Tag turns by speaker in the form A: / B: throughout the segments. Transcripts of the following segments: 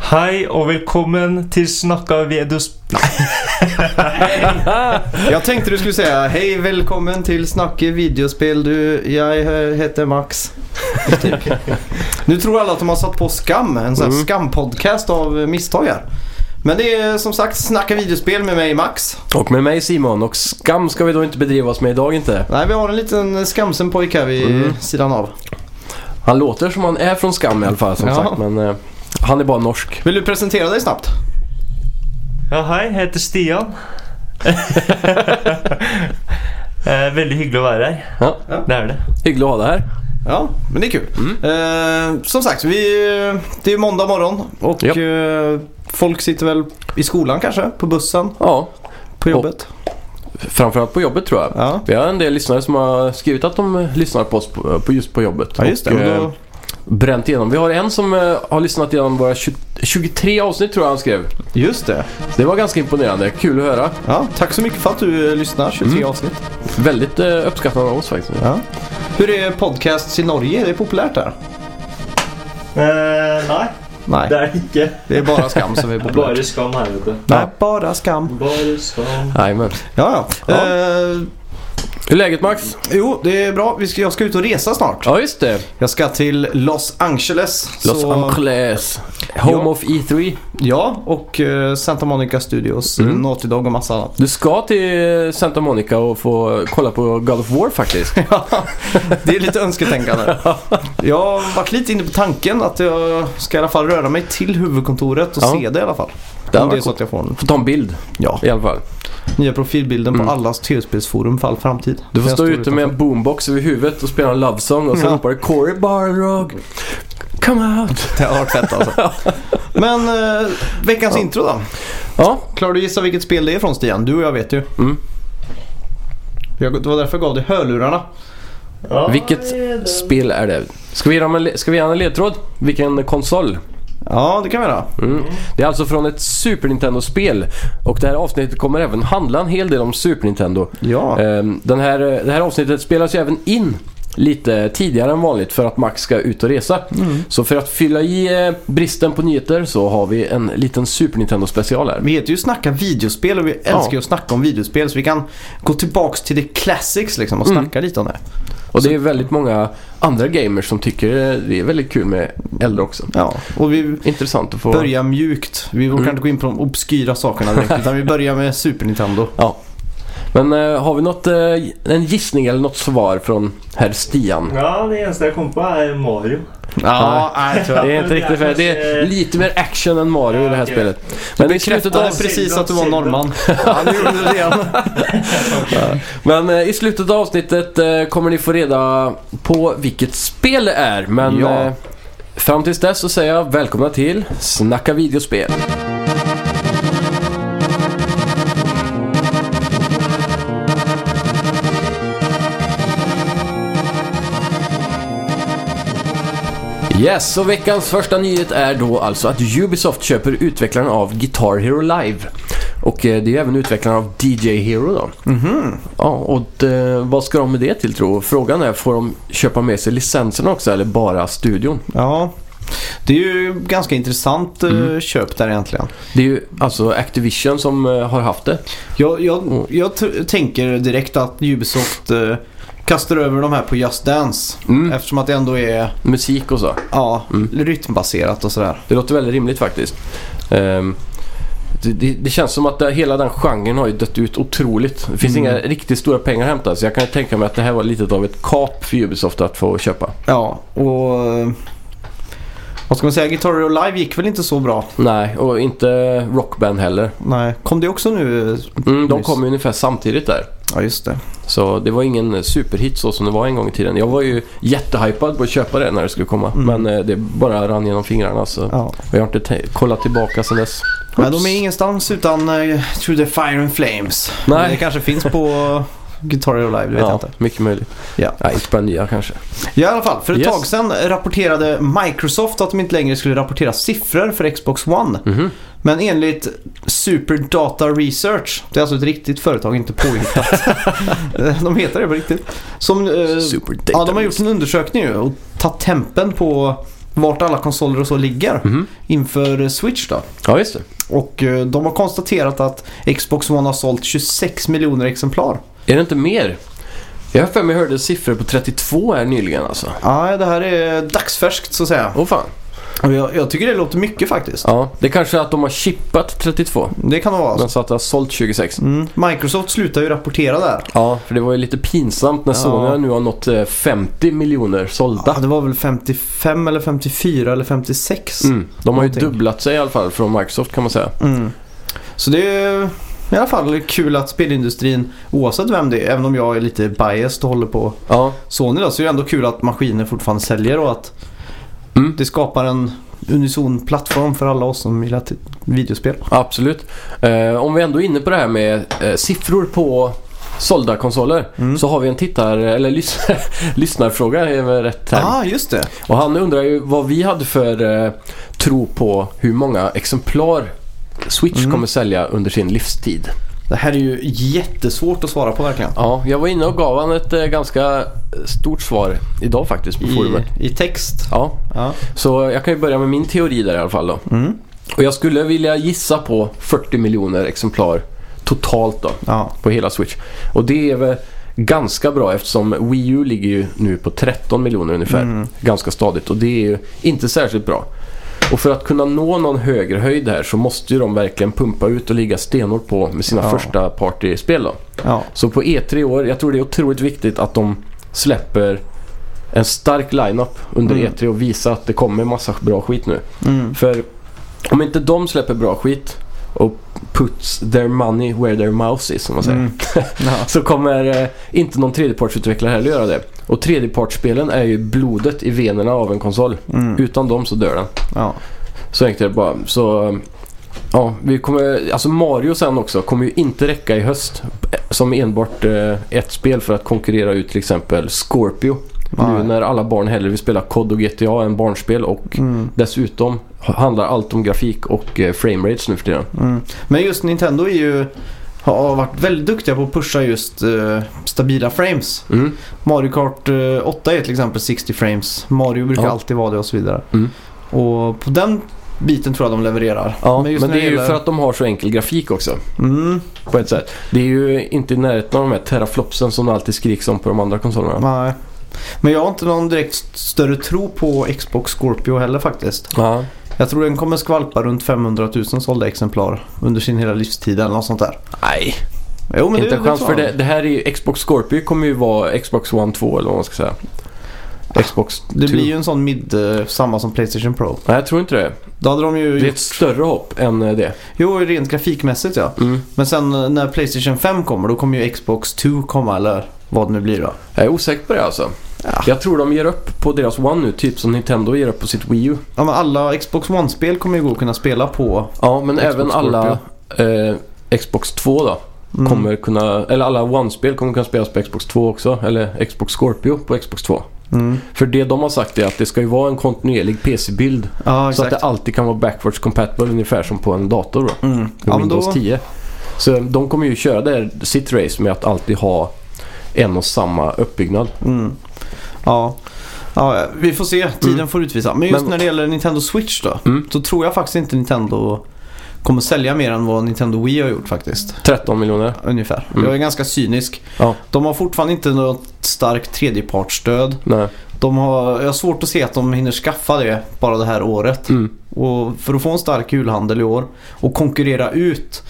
A: Hej och välkommen till Snacka Vedus...
B: Ah!
C: Jag tänkte du skulle säga hej välkommen till Snacke videospel du, jag eh, heter Max. Typ. nu tror alla att de har satt på Skam, en sån här
B: Mm.
C: skampodcast av eh, misstag här. Men det är som sagt Snacka videospel med mig Max.
B: Och med mig Simon. Och skam ska vi då inte bedriva oss med idag inte.
C: Nej vi har en liten skamsen pojk här vid
B: Mm.
C: sidan av.
B: Han låter som han är från skam i alla fall som
C: Ja.
B: sagt. Men eh, han är bara norsk.
C: Vill du presentera dig snabbt?
A: Ja, hej, jag heter Stian. eh, väldigt hyggligt att vara här.
B: Ja.
A: Det är det.
B: Hyggligt att ha dig här.
C: Ja, men det är kul.
B: Mm.
C: Eh, som sagt, vi, eh, det är ju måndag morgon och
B: Japp.
C: eh, folk sitter väl i skolan kanske, på bussen,
B: Ja,
C: på jobbet.
B: framförallt på jobbet tror jag.
C: Ja.
B: Vi har en del lyssnare som har skrivit att de eh, lyssnar på oss på, på just på jobbet.
C: ja, just det.
B: Och,
C: men
B: eh,
C: då,
B: bränt igenom. Vi har en som eh, har lyssnat igenom våra 20, 23 avsnitt tror jag han skrev.
C: just det.
B: Det var ganska imponerande. Kul att höra.
C: Ja, tack så mycket för att du eh, lyssnar, 23
B: Mm.
C: avsnitt.
B: Väldigt eh, uppskattande av oss faktiskt.
C: Ja. Hur är podcasts i Norge? Är det populärt där?
A: Eh, nej,
C: Nej,
A: det är det inte.
C: det är bara skam som är populärt.
A: Bara skam här vet du.
C: Nej, bara skam.
A: Bara skam.
B: Jajamän.
C: Ja, ja.
B: Ja.
C: Eh,
B: Hur är läget Max?
C: jo, det är bra. Vi ska, jag ska ut och resa snart.
B: Ja just det.
C: Jag ska till Los Angeles.
B: Los
C: så-
B: Angeles. Home
C: Ja.
B: of E E3.
C: Ja, och eh, Santa Monica Studios, mm.
B: Mm.
C: Naughty Dog och massa annat.
B: Du ska till Santa Monica och få kolla på God of War faktiskt.
C: det är lite önsketänkande. Jag har varit lite inne på tanken att jag ska i alla fall röra mig till huvudkontoret och
B: Ja.
C: se det i alla fall.
B: Det
C: Om
B: hade
C: det är
B: varit
C: så
B: coolt.
C: att jag får en
B: Få ta en bild
C: ja,
B: i alla fall.
C: nya profilbilden på
B: Mm.
C: allas tv-spelsforum för all framtid.
B: Du får
C: Jag
B: stå
C: står
B: ute med en boombox över huvudet och spela en love song och sen
C: Ja.
B: ropar du Corey Barlog. Come out.
C: Det har varit fett alltså. Men eh, veckans
B: Ja.
C: intro då.
B: Ja,
C: Klarar du gissa vilket spel det är från Stian? Du och jag vet ju.
B: Mm.
C: Jag, det var därför jag gav dig hörlurarna.
A: Ja,
B: vilket
A: det-
B: spel är det? Ska vi ge dem en, le- ska vi ge dem en ledtråd? Vilken konsol?
C: Ja, det kan vi göra.
B: Mm. Det är alltså från ett Super Nintendo-spel och det här avsnittet kommer även handla en hel del om Super Nintendo.
C: Ja.
B: Ehm, Den här, det här avsnittet spelas ju även in lite tidigare än vanligt för att Max ska ut och resa.
C: Mm.
B: Så för att fylla i eh, bristen på nyheter så har vi en liten Super Nintendo special här.
C: Vi heter ju Snacka videospel och vi älskar ju att snacka om videospel så vi kan gå tillbaks till det classics liksom och
B: Mm.
C: snacka lite om det.
B: Och det är väldigt många andra gamers som tycker eh, det är väldigt kul med äldre också.
C: Ja, och vi
B: Intressant att få...
C: börjar mjukt. Vi
B: Mm.
C: vågar inte gå in på de obskyra sakerna direkt utan vi börjar med Super Nintendo.
B: Ja. Men eh, har vi något, eh, en gissning eller något svar från herr Stian?
A: Ja, det enda jag kom på är Mario.
C: Ja, nej tyvärr.
B: Det är inte riktigt för det är lite mer action än Mario i det här
A: Okej.
B: spelet. Men i slutet
C: Bekräftade
B: av,
C: precis att du var norrman. Ja, nu gjorde du det igen.
B: men eh, i slutet av avsnittet eh, kommer ni få reda på vilket spel det är. Men
C: Ja.
B: eh, fram tills dess så säger jag välkomna till Snacka videospel. Yes, och veckans första nyhet är då alltså att Ubisoft köper utvecklaren av Guitar Hero Live. Och eh, det är ju även utvecklaren av DJ Hero då. Ja, och eh, vad ska de med det till tro? Frågan är, får de köpa med sig licenserna också eller bara studion?
C: Ja, det är ju ganska intressant eh, köp där egentligen.
B: Det är ju alltså Activision som eh, har haft det.
C: Jag,
B: Mm.
C: jag, jag t- tänker direkt att Ubisoft eh, kastar över de här på Just Dance.
B: Mm.
C: Eftersom att det ändå är
B: Musik och så.
C: ja, rytmbaserat och sådär.
B: Det låter väldigt rimligt faktiskt. Ehm, det, det, det känns som att det, hela den genren har ju dött ut otroligt. Det finns inga riktigt stora pengar att hämta. Så jag kan tänka mig att det här var lite av ett kap för Ubisoft att få köpa.
C: Ja, och... eh, Vad ska man säga? Guitar Hero Live gick väl inte så bra?
B: Nej, och inte Rockband heller.
C: Nej. Kom det också nu?
B: Mm, de
C: Nyss.
B: kom ju ungefär samtidigt där.
C: Ja, just det.
B: Så det var ingen eh, superhit så som det var en gång i tiden. Jag var ju jättehypad på att köpa det när det skulle komma.
C: Mm.
B: Men eh, det bara rann genom fingrarna. Så
C: Ja.
B: jag har inte te- kollat tillbaka sedan dess.
C: Men
B: Oops.
C: de är ingenstans utan eh, Through the Fire and Flames.
B: Nej.
C: Det kanske finns på Guitar Hero Live, det vet
B: ja,
C: jag inte.
B: Mycket möjligt.
C: Ja.
B: Nej, inte på den nya kanske.
C: Ja, i alla fall. För ett
B: Yes.
C: tag sedan rapporterade Microsoft att de inte längre skulle rapportera siffror för Xbox One.
B: Mhm.
C: Men enligt Super Data Research, det är alltså ett riktigt företag, inte påhittat. de heter det på riktigt. Som, eh,
B: Super
C: ja, de har gjort en undersökning ju och tagit tempen på vart alla konsoler och så ligger
B: Mhm.
C: inför Switch då.
B: Ja, just det.
C: Och eh, de har konstaterat att Xbox One har sålt 26 miljoner exemplar.
B: Är det inte mer? Jag har för mig hörde siffror på 32 här nyligen alltså.
C: Ja, det här är dagsfärskt så att säga.
B: Åh fan.
C: Och jag, jag tycker det låter mycket faktiskt.
B: Ja, det är kanske är att de har chippat 32.
C: Det kan det vara. alltså.
B: Men så att det har sålt 26.
C: Mm. Microsoft slutar ju rapportera där.
B: Ja, för det var ju lite pinsamt när
C: Ja.
B: Sony nu har nått eh, 50 miljoner sålda.
C: Ja, det var väl 55 eller 54 eller 56.
B: Mm. De har ju
C: Någonting.
B: dubblat sig i alla fall från Microsoft kan man säga.
C: Mm. Så det är ju i alla fall kul att spelindustrin, oavsett vem det är, även om jag är lite biased och håller på
B: Ja,
C: Sony då, så är det ändå kul att maskiner fortfarande säljer och att
B: Mm.
C: det skapar en unison plattform för alla oss som gillar t- videospel.
B: absolut. Eh, om vi ändå är inne på det här med eh, siffror på sålda konsoler.
C: Mm.
B: Så har vi en tittar, eller lys- lyssnarfråga är väl rätt term.
C: ah, just det.
B: Och han undrar ju vad vi hade för eh, tro på hur många exemplar Switch
C: Mm.
B: kommer sälja under sin livstid.
C: Det här är ju jättesvårt att svara på verkligen.
B: Ja, jag var inne och gav han ett eh, ganska stort svar idag faktiskt på forumet.
C: I, I text.
B: Ja,
C: Ja.
B: så jag kan ju börja med min teori där i alla fall då.
C: Mm.
B: Och jag skulle vilja gissa på 40 miljoner exemplar totalt då
C: ja.
B: på hela Switch. Och det är väl ganska bra eftersom Wii U ligger ju nu på 13 miljoner ungefär.
C: Mm.
B: Ganska stadigt och det är ju inte särskilt bra. Och för att kunna nå någon högre höjd här så måste ju de verkligen pumpa ut och ligga stenhårt på med sina
C: Ja.
B: första partyspel då.
C: ja.
B: Så på E3 i år, jag tror det är otroligt viktigt att de släpper en stark lineup under
C: Mm.
B: E3 och visar att det kommer massa bra skit nu.
C: Mm.
B: För om inte de släpper bra skit och puts their money where their mouse is, som man säger.
C: Mm. Ja.
B: Så kommer eh, inte någon tredjepartsutvecklare heller göra det. Och tredjepartsspelen är ju blodet i venerna av en konsol.
C: Mm.
B: Utan dem så dör den.
C: Ja.
B: Så enkelt är det bara. Så, eh, ja, vi kommer, alltså Mario sen också kommer ju inte räcka i höst. eh, Som enbart eh, ett spel för att konkurrera ut till exempel Scorpio. Nu
C: Nej.
B: när alla barn hellre vill spela COD och GTA än barnspel och
C: Mm.
B: Dessutom handlar allt om grafik och eh, framerates nu för tiden.
C: Mm. Men just Nintendo är ju, har varit väldigt duktiga på att pusha just eh, stabila frames.
B: Mm.
C: Mario Kart eh, 8 är till exempel 60 frames. Mario brukar
B: Ja.
C: alltid vara det och så vidare.
B: Mm.
C: Och på den biten tror jag de levererar.
B: Ja, men,
C: just när
B: det är ju
C: gäller-
B: för att de har så enkel grafik också.
C: Mm,
B: På ett sätt. Det är ju inte i närheten av de här teraflopsen som det alltid skriks om på de andra konsolerna.
C: nej. Men jag har inte någon direkt st- större tro på Xbox Scorpio heller faktiskt.
B: Ja.
C: Jag tror den kommer skvalpa runt 500 000 sålda exemplar under sin hela livstid eller något sånt där.
B: Nej,
C: Jo, men
B: inte
C: det,
B: en chans
C: det
B: för
C: tror jag.
B: det, det här är ju Xbox Scorpio kommer ju vara Xbox One 2 eller vad man ska säga. Xbox 2.
C: Det blir ju en sån mid, eh, samma som Playstation Pro.
B: Nej, jag tror inte det.
C: Då hade de ju...
B: Det är ett större hopp än eh, det.
C: Jo, rent grafikmässigt ja.
B: Mm.
C: Men sen eh, när Playstation 5 kommer, då kommer ju Xbox 2 komma eller vad det nu blir då.
B: Jag är osäker på det alltså.
C: Ja.
B: Jag tror de ger upp på deras One nu, typ som Nintendo ger upp på sitt Wii U.
C: Ja, men alla Xbox One-spel kommer ju gå att kunna spela på.
B: Ja, men
C: Xbox
B: även alla eh, Xbox 2 då.
C: Mm.
B: Kommer kunna, eller alla One-spel kommer kunna spelas på Xbox 2 också. Eller Xbox Scorpio på Xbox 2.
C: Mm.
B: För det de har sagt är att det ska ju vara en kontinuerlig PC-bild.
C: Ja,
B: Så att
C: exakt.
B: det alltid kan vara backwards compatible ungefär som på en dator då.
C: Mm.
B: Ja,
C: Ja, men
B: Windows
C: då...
B: 10. Så de kommer ju köra det här, sitt race med att alltid ha en och samma uppbyggnad.
C: Mm. Ja. ja, vi får se. Tiden får utvisa. Men just
B: Mm. Men-
C: när det gäller Nintendo Switch då.
B: Mm.
C: Så tror jag faktiskt inte Nintendo kommer sälja mer än vad Nintendo Wii har gjort faktiskt.
B: 13 miljoner.
C: Ungefär.
B: Mm.
C: Jag är ganska cynisk.
B: Ja.
C: De har fortfarande inte något starkt tredjepartsstöd.
B: Nej.
C: De har, jag har svårt att se att de hinner skaffa det bara det här året.
B: Mm.
C: Och för att få en stark julhandel i år och konkurrera ut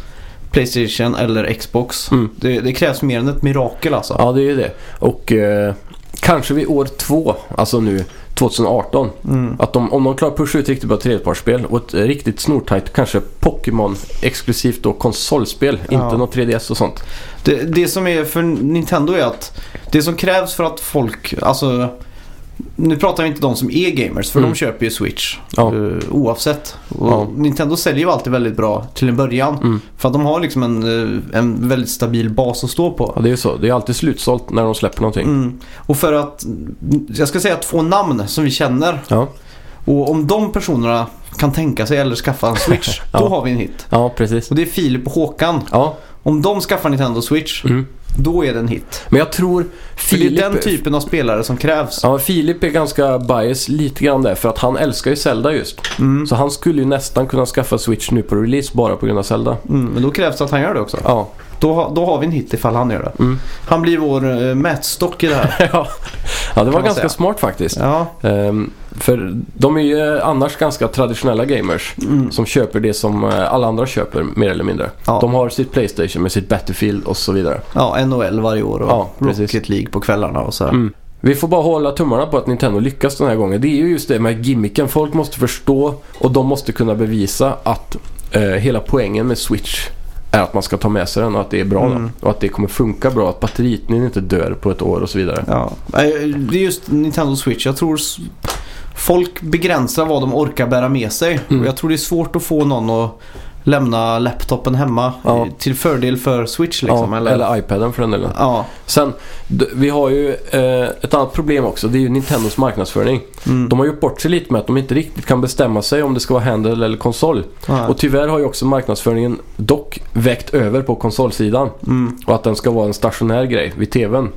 C: Playstation eller Xbox.
B: Mm.
C: Det, det krävs mer än ett mirakel alltså.
B: Ja, det är ju det. Och eh, kanske vid år två, alltså nu 2018,
C: Mm.
B: Att de, om de klarar att pusha ut riktigt bra tredjepartsspel och ett eh, riktigt snortajt kanske Pokémon exklusivt då konsolspel, inte något 3DS och sånt.
C: Det, det som är för Nintendo är att det som krävs för att folk, alltså nu pratar vi inte de som är gamers för
B: Mm.
C: de köper ju Switch
B: Ja.
C: eh, oavsett. Och
B: Ja.
C: Nintendo säljer ju alltid väldigt bra till en början.
B: Mm.
C: För att de har liksom en, eh, en väldigt stabil bas att stå på.
B: Ja, det är ju så. Det är alltid slutsålt när de släpper någonting.
C: Mm. Och för att, jag ska säga två namn som vi känner.
B: Ja.
C: Och om de personerna kan tänka sig eller skaffa en Switch,
B: Ja.
C: då har vi en hit.
B: ja, precis.
C: Och det är Filip och Håkan.
B: Ja,
C: Om de skaffar Nintendo Switch,
B: Mm.
C: då är det en hit.
B: Men jag tror
C: För det är
B: Filip...
C: den typen av spelare som krävs.
B: Ja, Filip är ganska bias lite grann där för att han älskar ju Zelda just.
C: Mm.
B: Så han skulle ju nästan kunna skaffa Switch nu på release bara på grund av Zelda.
C: Mm, men då krävs det att han gör det också.
B: Ja,
C: Då, ha- då har vi en hit ifall han gör det.
B: Mm.
C: Han blir vår eh, mätstock i det här.
B: ja. ja det var
C: man
B: ganska
C: säga.
B: smart faktiskt.
C: Ja,
B: Ehm, för de är ju annars ganska traditionella gamers
C: mm.
B: som köper det som eh, alla andra köper mer eller mindre.
C: Ja.
B: De har sitt Playstation med sitt Battlefield och så vidare.
C: ja NHL varje år och
B: Ja, precis.
C: Rocket League på kvällarna och så. här.
B: Mm. Vi får bara hålla tummarna på att Nintendo lyckas den här gången. Det är ju just det med gimmicken. Folk måste förstå och de måste kunna bevisa att eh, hela poängen med Switch är att man ska ta med sig den och att det är bra.
C: Mm.
B: Då. Och att det kommer funka bra. Att batteriet inte dör på ett år och så vidare.
C: Ja. Nej, Det är just Nintendo Switch. Jag tror s- folk begränsar vad de orkar bära med sig.
B: Mm.
C: Och jag tror det är svårt att få någon att lämna laptopen hemma
B: Ja.
C: i- till fördel för Switch. Liksom,
B: ja, eller...
C: eller?
B: iPaden för den delen.
C: Ja.
B: Sen, d- vi har ju eh, ett annat problem också. Det är ju Nintendos marknadsföring.
C: Mm.
B: De har gjort bort sig lite med att de inte riktigt kan bestämma sig om det ska vara handel eller konsol.
C: Ja.
B: Och tyvärr har ju också marknadsföringen dock vägt över på konsolsidan.
C: Mm.
B: Och att den ska vara en stationär grej vid TVn.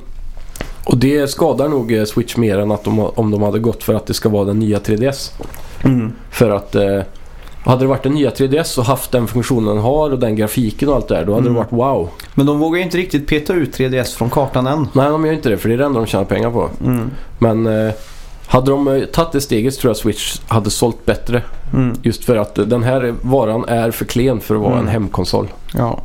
B: Och det skadar nog eh, Switch mer än att de, om de hade gått för att det ska vara den nya 3DS.
C: Mm.
B: För att eh, hade det varit den nya 3DS och haft den funktionen den har och den grafiken och allt det där, då hade det
C: Mm.
B: varit wow.
C: Men de vågar ju inte riktigt peta ut 3DS från kartan än.
B: Nej, de gör inte det för det är det enda de tjänar pengar på.
C: Mm.
B: Men eh, hade de eh, tagit det steget så tror jag Switch hade sålt bättre.
C: Mm.
B: Just för att eh, den här varan är för klen för att vara
C: Mm.
B: en hemkonsol.
C: Ja.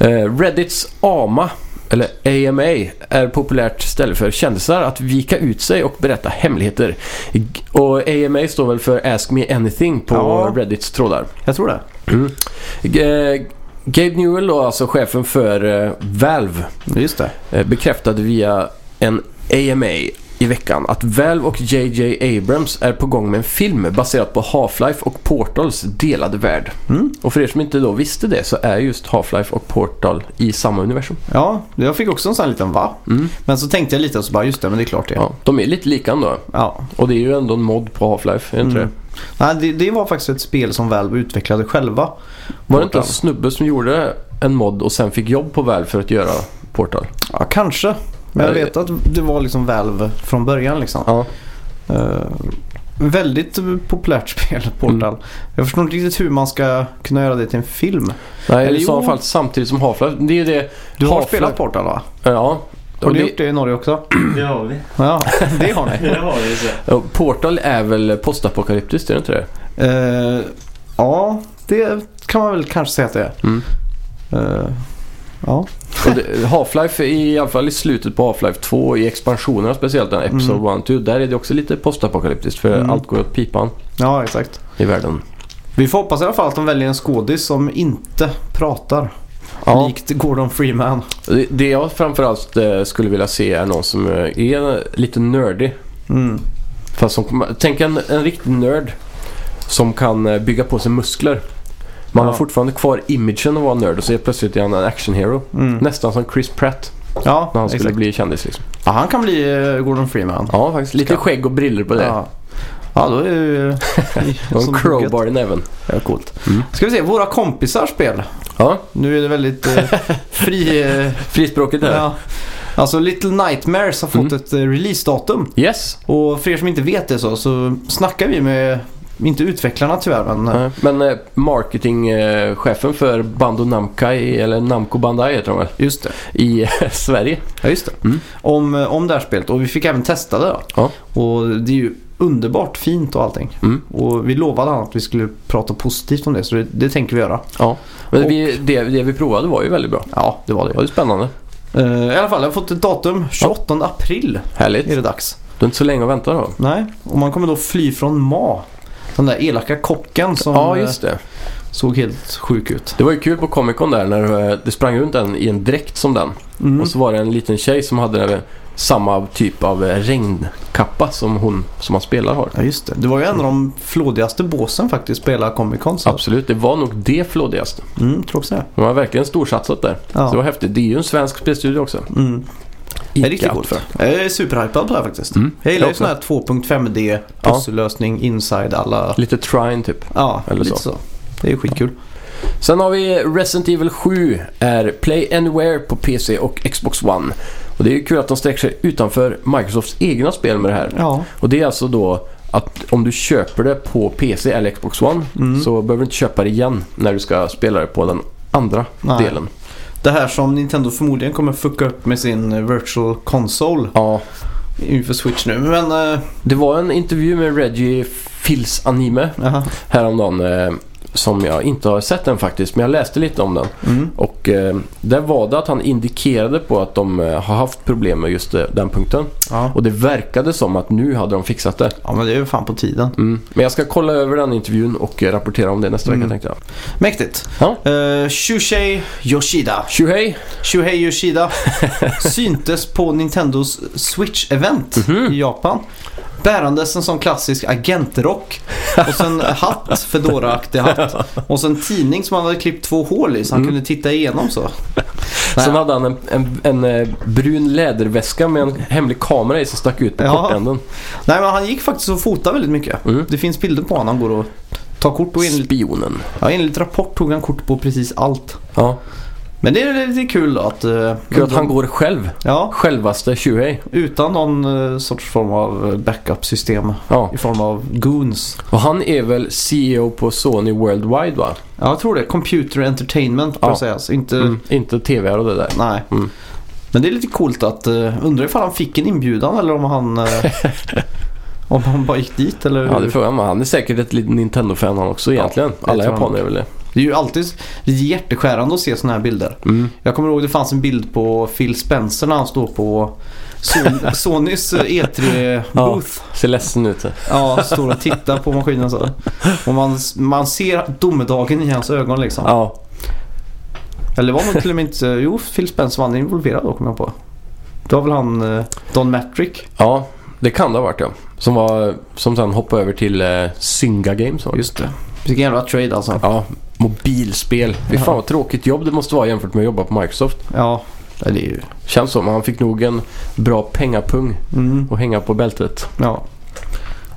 B: Eh, Reddits AMA, eller AMA, är populärt ställe för kändisar att vika ut sig och berätta hemligheter. G- Och AMA står väl för Ask Me Anything på
C: Ja.
B: Reddits trådar. Mm.
C: Jag tror det.
B: G- eh, Gabe Newell, då, alltså chefen för eh, Valve,
C: Just det.
B: eh, bekräftade via en AMA i veckan att Valve och JJ Abrams är på gång med en film baserad på Half-Life och Portals delade värld.
C: Mm.
B: Och för er som inte då visste det så är just Half-Life och Portal i samma universum.
C: Ja, jag fick också en sån här liten va.
B: Mm.
C: Men så tänkte jag lite och så bara just det, men det är klart det.
B: Ja, de är lite lika ändå.
C: Ja.
B: Och det är ju ändå en mod på Half-Life, är det inte
C: Mm. Nej, det, det var faktiskt ett spel som Valve utvecklade själva.
B: det? Var det inte en
C: Portal.
B: snubbe som gjorde en mod och sen fick jobb på Valve för att göra Portal?
C: Ja, kanske. Men jag
B: Nej.
C: vet att det var liksom Valve från början liksom.
B: Ja.
C: Eh, väldigt populärt spel, Portal.
B: Mm.
C: Jag förstår inte riktigt hur man ska kunna göra det till en film.
B: Nej,
C: Eller
B: i så
C: jo.
B: fall samtidigt som Half-Life. Det är ju det...
C: Du har
B: Half-Life-
C: spelat Portal va?
B: Ja.
C: Har
B: Och
C: du
B: det,
C: gjort det i Norge också?
A: Det har vi.
C: Ja, det har ni.
A: Det har vi så.
B: och Portal är väl postapokalyptiskt, är det inte det?
C: Eh, ja, det kan man väl kanske säga att det är.
B: Mm.
C: Eh, ja.
B: Och det Half-Life, i alla fall i slutet på Half-Life 2, i expansionerna speciellt, den Episode 1 2, där är det också lite postapokalyptiskt för
C: Mm.
B: allt går åt pipan
C: ja, exakt.
B: i världen.
C: Vi får hoppas i alla fall att de väljer en skådis som inte pratar.
B: Ja.
C: Likt Gordon Freeman.
B: Det- Det jag framförallt eh, skulle vilja se är någon som eh, är lite nördig.
C: Mm.
B: Fast som, kommer- tänk en, en riktig nörd som kan eh, bygga på sig muskler. Man
C: Ja.
B: har fortfarande kvar imagen att vara nörd och så är plötsligt är han en actionhero.
C: Mm.
B: Nästan som Chris Pratt
C: Ja,
B: när han skulle
C: exakt.
B: bli kändis. Liksom.
C: Ja, han kan bli eh, Gordon Freeman.
B: Ja, faktiskt. Lite skägg och briller på det.
C: Ja. ja, då är det ju...
B: Och en
C: som
B: crowbar i näven.
C: Ja, coolt.
B: Mm.
C: Ska vi se, våra kompisars spel.
B: Ja,
C: Nu är det väldigt eh, fri... Eh,
B: frispråket där.
C: ja. Alltså Little Nightmares har fått
B: Mm.
C: ett eh, releasedatum.
B: Yes.
C: Och för er som inte vet det så, så snackar vi med, inte utvecklarna tyvärr, men
B: Nej. Men eh, marketingchefen för Bando Namkai, eller Namco Bandai heter de väl,
C: just det.
B: i eh, Sverige.
C: Ja, just det.
B: Mm.
C: Om, eh, om det här spelet och vi fick även testa det då.
B: Ja.
C: Och det är ju underbart fint och allting.
B: Mm.
C: Och vi lovade han att vi skulle prata positivt om det så det, det tänker vi göra.
B: Ja, men
C: Och-
B: vi, det, det vi provade var ju väldigt bra.
C: Ja, det var
B: Det
C: det.
B: var ju spännande.
C: Eh, I alla fall, jag har fått ett datum. 28 april
B: Härligt.
C: är det dags.
B: Du är inte så länge att vänta då.
C: Nej, och man kommer då fly från Ma. Den där elaka kocken som
B: ja, just det.
C: eh, såg helt sjuk ut.
B: Det var ju kul på Comic Con där när eh, det sprang runt en i en dräkt som den.
C: Mm.
B: Och så var det en liten tjej som hade eh, samma typ av eh, regnkappa som hon som man spelar har.
C: Ja, just det. Det var ju en av de flådigaste båsen faktiskt på hela Comic Con. så-
B: Absolut, det var nog det flådigaste.
C: Mm, tror också det.
B: De har verkligen storsatsat där. Så det var
C: Ja.
B: häftigt. Det är ju en svensk spelstudio också.
C: Mm. Det
B: Ica,
C: är riktigt coolt.
B: tror
C: Jag är superhypad på det här faktiskt.
B: Mm.
C: Jag gillar
B: Jag
C: ju sån här 2.5D
B: Ja.
C: pussellösning inside alla...
B: jag. Lite trine typ.
C: Ja,
B: Eller
C: lite så.
B: så.
C: Det är ju skitkul.
B: Sen har vi Resident Evil 7 är Play Anywhere på PC och Xbox One. Och det är ju kul att de sträcker sig utanför Microsofts egna spel med det här.
C: Ja.
B: Och det är alltså då att om du köper det på PC eller Xbox One
C: Mm.
B: så behöver du inte köpa det igen när du ska spela det på den andra
C: Nej.
B: delen.
C: Det här som Nintendo förmodligen kommer fucka upp med sin eh, virtual console
B: Ja,
C: inför Switch nu. Men, eh,
B: det var en intervju med Reggie Fils Anime
C: jaha.
B: häromdagen eh, som jag inte har sett den faktiskt, men jag läste lite om den.
C: Mm.
B: Och eh, där var det att han indikerade på att de eh, har haft problem med just eh, den punkten.
C: Ja.
B: Och det verkade som att nu hade de fixat det.
C: ja, men det är ju fan på tiden.
B: Mm. Men jag ska kolla över den intervjun och eh, rapportera om det nästa
C: Mm.
B: vecka tänkte jag.
C: Mäktigt.
B: Ja.
C: Eh, Shushei Yoshida.
B: Tjohej!
C: Shuhei Yoshida syntes på Nintendos Switch-event
B: Mhm.
C: i Japan. Bärandes en sån klassisk agentrock och sen hatt, Fedora-aktig hatt. Och sen tidning som han hade klippt två hål i så han
B: Mm.
C: kunde titta igenom så.
B: Sen hade han en, en, en eh, brun läderväska med en hemlig kamera i som stack ut på
C: Ja.
B: kortänden.
C: Nej men han gick faktiskt och fotade väldigt mycket.
B: Mm.
C: Det finns bilder på honom. Han går och tar kort och enligt,
B: Spionen.
C: ja, enligt rapport tog han kort på precis allt.
B: Ja.
C: Men det är lite kul då att... eh,
B: Kul att han går själv.
C: Ja,
B: Självaste Tjohej.
C: utan någon eh, sorts form av eh, backup-system.
B: Ja.
C: I form av goons.
B: Och han är väl CEO på Sony Worldwide va?
C: Ja, jag tror det. Computer entertainment
B: Ja.
C: process. Alltså, Inte...
B: Mm. Inte tv och det där.
C: Nej.
B: Mm.
C: Men det är lite coolt att... Uh, undrar ifall han fick en inbjudan eller om han... eh, om han bara gick dit eller
B: Ja,
C: hur?
B: det
C: det,
B: frågar jag mig. Han är säkert ett litet Nintendo-fan han också egentligen.
C: det
B: Alla
C: tror jag
B: japaner är väl det.
C: är ju alltid det är hjärteskärande att se sådana här bilder.
B: Mm.
C: Jag kommer ihåg det fanns en bild på Phil Spencer när han står på Son- Sonys eh,
B: Ja.
C: E3-booth.
B: Ser ledsen ut.
C: Ja. står och tittar på maskinen så. Och man, man ser domedagen i hans ögon liksom.
B: Ja.
C: Eller var man till och med inte... Jo, Phil Spencer var involverad då kom jag på. Det var väl han eh, Don Matrick.
B: ja, det kan det ha varit ja. Som, var, som sen hoppade över till eh, Synga Games. va?
C: Just det. Vilken jävla trade alltså.
B: Ja, mobilspel. Fy fan vad tråkigt jobb det måste vara jämfört med att jobba på Microsoft.
C: Ja, det är ju...
B: Känns som. Han fick nog en bra pengapung
C: Mm,
B: att hänga på bältet.
C: ja.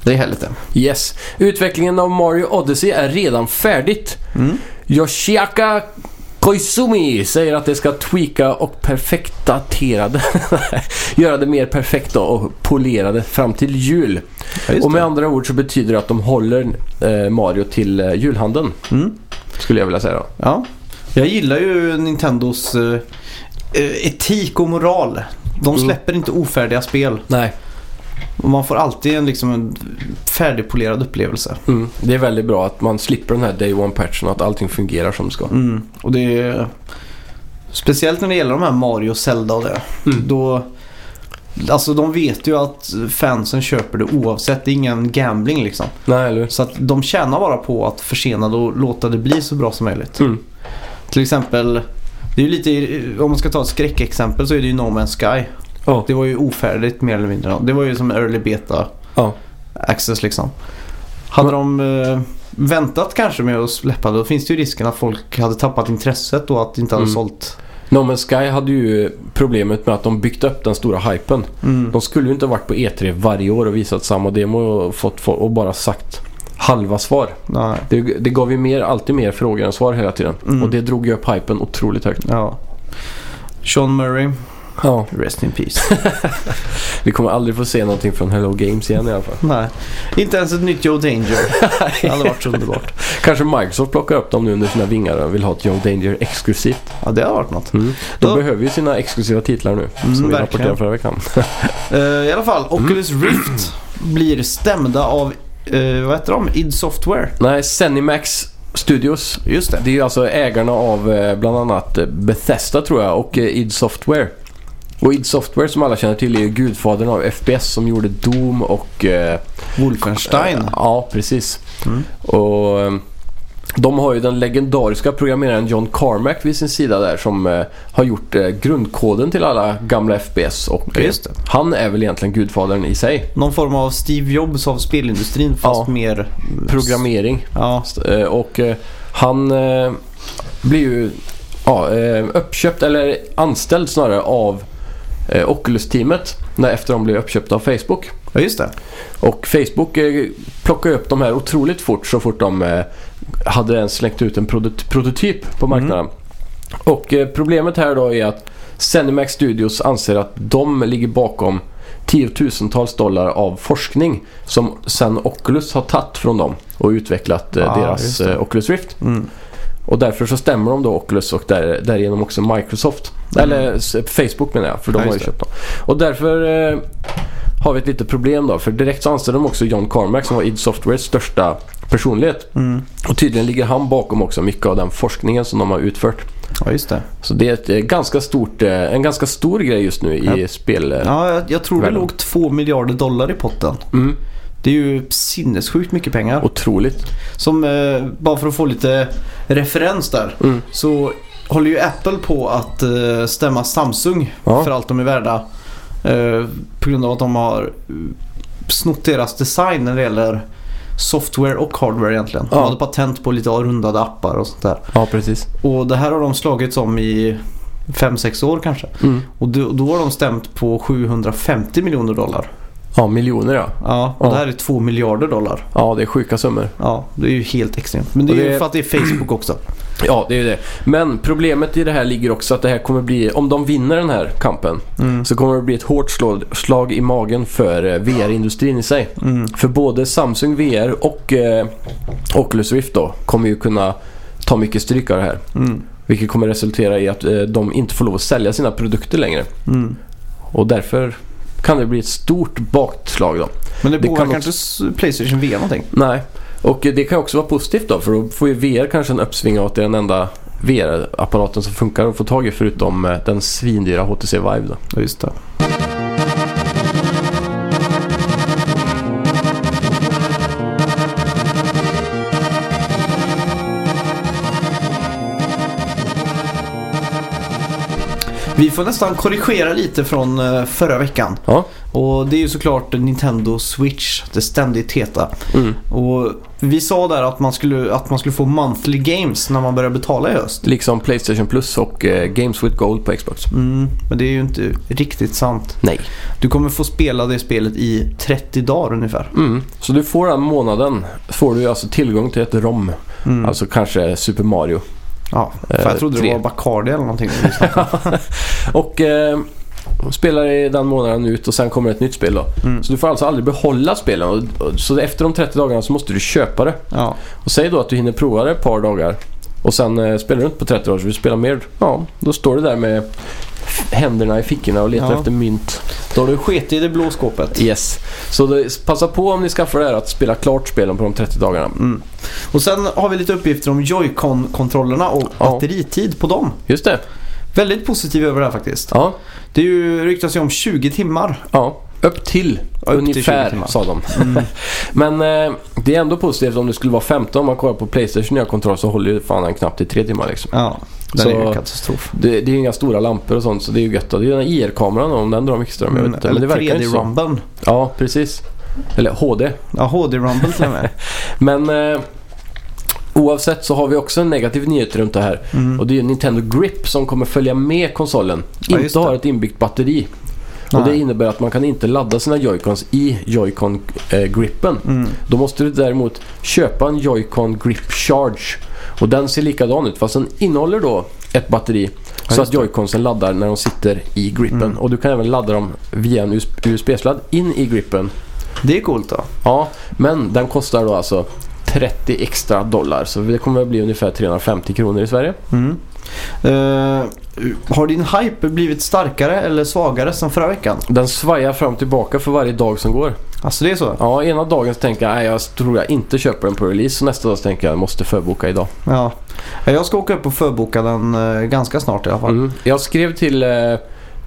C: Det är härligt det.
B: Yes. Utvecklingen av Mario Odyssey är redan färdigt.
C: Mm.
B: Yoshiaka Koizumi säger att det ska tweaka och perfektatera det. Göra det mer perfekt då och polera det fram till jul.
C: Ja, just
B: och med
C: det.
B: andra ord så betyder det att de håller eh, Mario till eh, julhandeln.
C: Mm.
B: Skulle jag vilja säga då.
C: Ja. Jag gillar ju Nintendos eh, eh, etik och moral. De
B: Mm.
C: släpper inte ofärdiga spel.
B: Nej.
C: Och man får alltid en, liksom, en färdigpolerad upplevelse.
B: Mm. Det är väldigt bra att man slipper den här Day One-patchen och att allting fungerar som det ska.
C: Mm. Och det är... Speciellt när det gäller de här Mario, Zelda och det.
B: Mm.
C: Då... Alltså de vet ju att fansen köper det oavsett. Det är ingen gambling liksom.
B: Nej, eller hur?
C: Så att de tjänar bara på att försena det och låta det bli så bra som möjligt.
B: Mm.
C: Till exempel, det är ju lite, om man ska ta ett skräckexempel så är det ju No Man's Sky.
B: Ja.
C: Det var ju ofärdigt mer eller mindre. Det var ju som early beta
B: Ja.
C: access liksom. Hade de eh, väntat kanske med att släppa det då finns det ju risken att folk hade tappat intresset och att det inte hade
B: Mm.
C: sålt.
B: No Man's Sky hade ju problemet med att de byggt upp den stora hypen.
C: Mm.
B: De skulle ju inte ha varit på E3 varje år och visat samma demo och, fått, få- och bara sagt halva svar.
C: Nej.
B: Det, det gav ju mer, alltid mer frågor än svar hela tiden. Och det drog ju upp hypen otroligt högt.
C: Ja. Sean Murray,
B: Ja.
C: rest in peace.
B: Vi kommer aldrig få se någonting från Hello Games igen i alla fall.
C: Nej, inte ens ett nytt Joe Danger. Det hade varit så underbart.
B: Kanske Microsoft plockar upp dem nu under sina vingar och vill ha ett Young Danger exklusivt.
C: Ja, det hade varit något.
B: Mm. De
C: Då- Mm,
B: behöver ju sina exklusiva titlar nu. som vi
C: verkligen.
B: rapporterade förra veckan.
C: Eh, I alla fall, Oculus Rift blir stämda av, eh, vad heter de? id Software.
B: Nej, Zenimax Studios.
C: Just
B: Det är ju alltså ägarna av eh, bland annat eh, Bethesda tror jag och eh, id Software. Och id Software som alla känner till är ju gudfadern av FPS som gjorde Doom och... eh,
C: Wolfenstein.
B: eh, Ja, precis.
C: Mm.
B: Och eh, de har ju den legendariska programmeraren John Carmack vid sin sida där som eh, har gjort eh, grundkoden till alla gamla FPS och
C: Ja,
B: eh,
C: just det.
B: han är väl egentligen gudfadern i sig.
C: Någon form av Steve Jobs av spelindustrin fast
B: Ja.
C: mer...
B: Programmering.
C: Ja,
B: Eh, Och eh, han eh, blir ju ja, eh, uppköpt, eller anställd snarare, av eh, Oculus-teamet när efter de blev uppköpta av Facebook.
C: ja just det.
B: Och Facebook eh, plockar ju upp de här otroligt fort så fort de eh, hade ens släckt ut en produ- prototyp
C: Mm.
B: på marknaden. Och eh, problemet här då är att Zenimax Studios anser att de ligger bakom tiotusentals dollar av forskning som sen Oculus har tagit från dem och utvecklat eh,
C: Ah, just
B: deras
C: det.
B: eh, Oculus Rift.
C: Mm.
B: Och därför så stämmer de då Oculus och där, därigenom också Microsoft.
C: Mm.
B: Eller s- Facebook menar jag, för de
C: Ja,
B: har ju
C: just det.
B: köpt dem. Och därför eh, har vi ett litet problem då. För direkt så anställde de också John Carmack som var id Softwares största personlighet.
C: Mm.
B: Och tydligen ligger han bakom också mycket av den forskningen som de har utfört.
C: Ja, just det.
B: Så det är ett, eh, ganska stort, eh, en ganska stor grej just nu i spel... eh,
C: Ja, jag, jag tror det
B: Världen.
C: låg 2 miljarder dollar i potten.
B: Mm,
C: Det är ju sinnessjukt mycket pengar.
B: otroligt.
C: Som, eh, bara för att få lite referens där,
B: Mm.
C: så håller ju Apple på att eh, stämma Samsung
B: Ja.
C: för allt de är värda. Eh, på grund av att de har eh, snott deras design när det gäller software och hardware egentligen.
B: Ja.
C: De hade patent på lite rundade appar och sånt där.
B: Ja, precis.
C: Och det här har de slagits om i 5-6 år kanske.
B: Mm.
C: Och då, då har de stämt på 750 miljoner dollar.
B: Ja, miljoner ja.
C: Ja, och
B: Ja.
C: det här är 2 miljarder dollar.
B: Ja, det är sjuka summor.
C: Ja, det är ju helt extremt. Men det
B: Och
C: är
B: det-
C: ju för att det är Facebook också.
B: Ja, det är ju det. Men problemet i det här ligger också att det här kommer bli, om de vinner den här kampen,
C: Mm.
B: så kommer det bli ett hårt slag, slag i magen för eh, VR-industrin i sig.
C: Mm.
B: För både Samsung VR och eh, Oculus Rift då kommer ju kunna ta mycket stryk av det här.
C: Mm.
B: Vilket kommer resultera i att eh, de inte får lov att sälja sina produkter längre.
C: Mm.
B: Och därför kan det bli ett stort bakslag då.
C: Men det,
B: Det kan
C: påverkar inte s- Playstation VR någonting.
B: Nej, och eh, det kan också vara positivt då för då får ju VR kanske en uppsving av att det är den enda VR-apparaten som funkar att få tag i förutom eh, den svindyra HTC Vive då.
C: Ja, just det. Vi får nästan korrigera lite från eh, förra veckan.
B: Ja.
C: Och det är ju såklart Nintendo Switch, det ständigt heta.
B: Mm.
C: Och vi sa där att man skulle, att man skulle få monthly games när man börjar betala i höst.
B: Liksom Playstation Plus och eh, Games with Gold på Xbox.
C: Mm, men det är ju inte riktigt sant.
B: Nej.
C: Du kommer få spela det spelet i 30 dagar ungefär.
B: Mm. Så du får den månaden får du ju alltså tillgång till ett ROM.
C: Mm.
B: Alltså kanske Super Mario.
C: ja, för
B: eh,
C: jag trodde
B: tre.
C: det var Bacardi eller någonting.
B: Och eh, spelar i den månaden ut och sen kommer ett nytt spel då.
C: Mm.
B: Så du får alltså aldrig behålla spelen. Och, och, så efter de 30 dagarna så måste du köpa det.
C: Ja,
B: Och säg då att du hinner prova det ett par dagar och sen eh, spelar du inte på 30 dagar så vill du spela mer. Ja, då står du där med händerna i fickorna och letar
C: Ja.
B: efter mynt.
C: då har du skitit i det blå skåpet.
B: Yes. Så det, passa på om ni skaffar det här att spela klart spelen på de 30 dagarna.
C: Mm. Och sen har vi lite uppgifter om Joy-Con-kontrollerna och
B: Ja.
C: batteritid på dem.
B: Just det.
C: Väldigt positiv över det här faktiskt.
B: Ja.
C: Det är ju ryktas ju om 20 timmar.
B: ja. Upp till
C: Ja, upp till 20
B: ungefär
C: timmar. Mm.
B: sa de. Men eh, det är ändå positivt om det skulle vara 15. Om man kollar på Playstation nya kontroll så håller ju fan den knappt i tre timmar liksom.
C: Ja, det
B: Så-
C: är ju katastrof.
B: Det, det är ju inga stora lampor och sånt så det är ju gött. Det är ju den här IR-kameran om den drar mycket ström. Jag vet inte. Men det
C: Mm, eller
B: verkar ju inte så.
C: 3D-rumben.
B: Ja, precis. Eller HD.
C: Ja, HD-rumben till och med.
B: Men eh, oavsett så har vi också en negativ nyhet runt det här.
C: Mm.
B: Och det är ju Nintendo Grip som kommer följa med konsolen.
C: Ja, just
B: inte
C: det.
B: har ett inbyggt batteri. Och
C: Nej.
B: det innebär att man kan inte ladda sina Joy-Cons i Joy-Con-gripen.
C: Mm.
B: Då måste du däremot köpa en Joy-Con Grip Charge. Och den ser likadan ut fast den innehåller då ett batteri. så
C: just Mm.
B: att Joy-Consen laddar när de sitter i gripen. Och du kan även ladda dem via en USB-sladd in i gripen.
C: Det är coolt då.
B: Ja, men den kostar då alltså 30 extra dollar. Så det kommer att bli ungefär 350 kronor i Sverige.
C: Mm. Eh, har din hype blivit starkare eller svagare sen förra veckan?
B: Den svajar fram och tillbaka för varje dag som går.
C: Alltså det är så?
B: Ja, ena dagen så tänker jag nej, jag tror jag inte köper den på release. Och nästa dag så tänker jag jag måste förboka idag.
C: Ja. Jag ska åka upp och förboka den eh, ganska snart i alla fall.
B: Mm. Jag skrev till eh,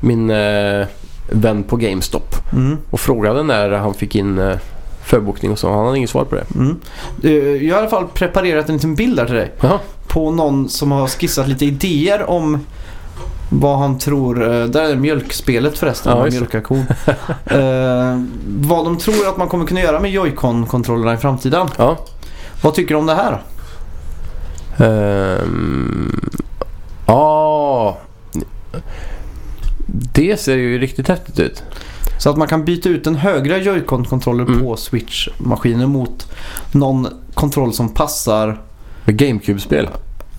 B: min eh, vän på GameStop
C: Mm.
B: och frågade när han fick in eh, förbokning och så. Han hade inget svar på det.
C: Mm. Eh, jag har i alla fall preparerat en liten bild där till dig.
B: Jaha.
C: På någon som har skissat lite idéer om vad han tror, eh, där är mjölkspelet förresten,
B: Ja,
C: ja,
B: just det.
C: mjölkar kon. Eh, vad de tror att man kommer kunna göra med Joy-Con-kontrollerna i framtiden.
B: Ja.
C: Vad tycker du om det här?
B: Ehm, Ja. Det ser ju riktigt häftigt ut.
C: Så att man kan byta ut den högra Joy-Con-kontrollen
B: Mm.
C: på Switch-maskinen mot någon kontroll som passar
B: Med GameCube-spel.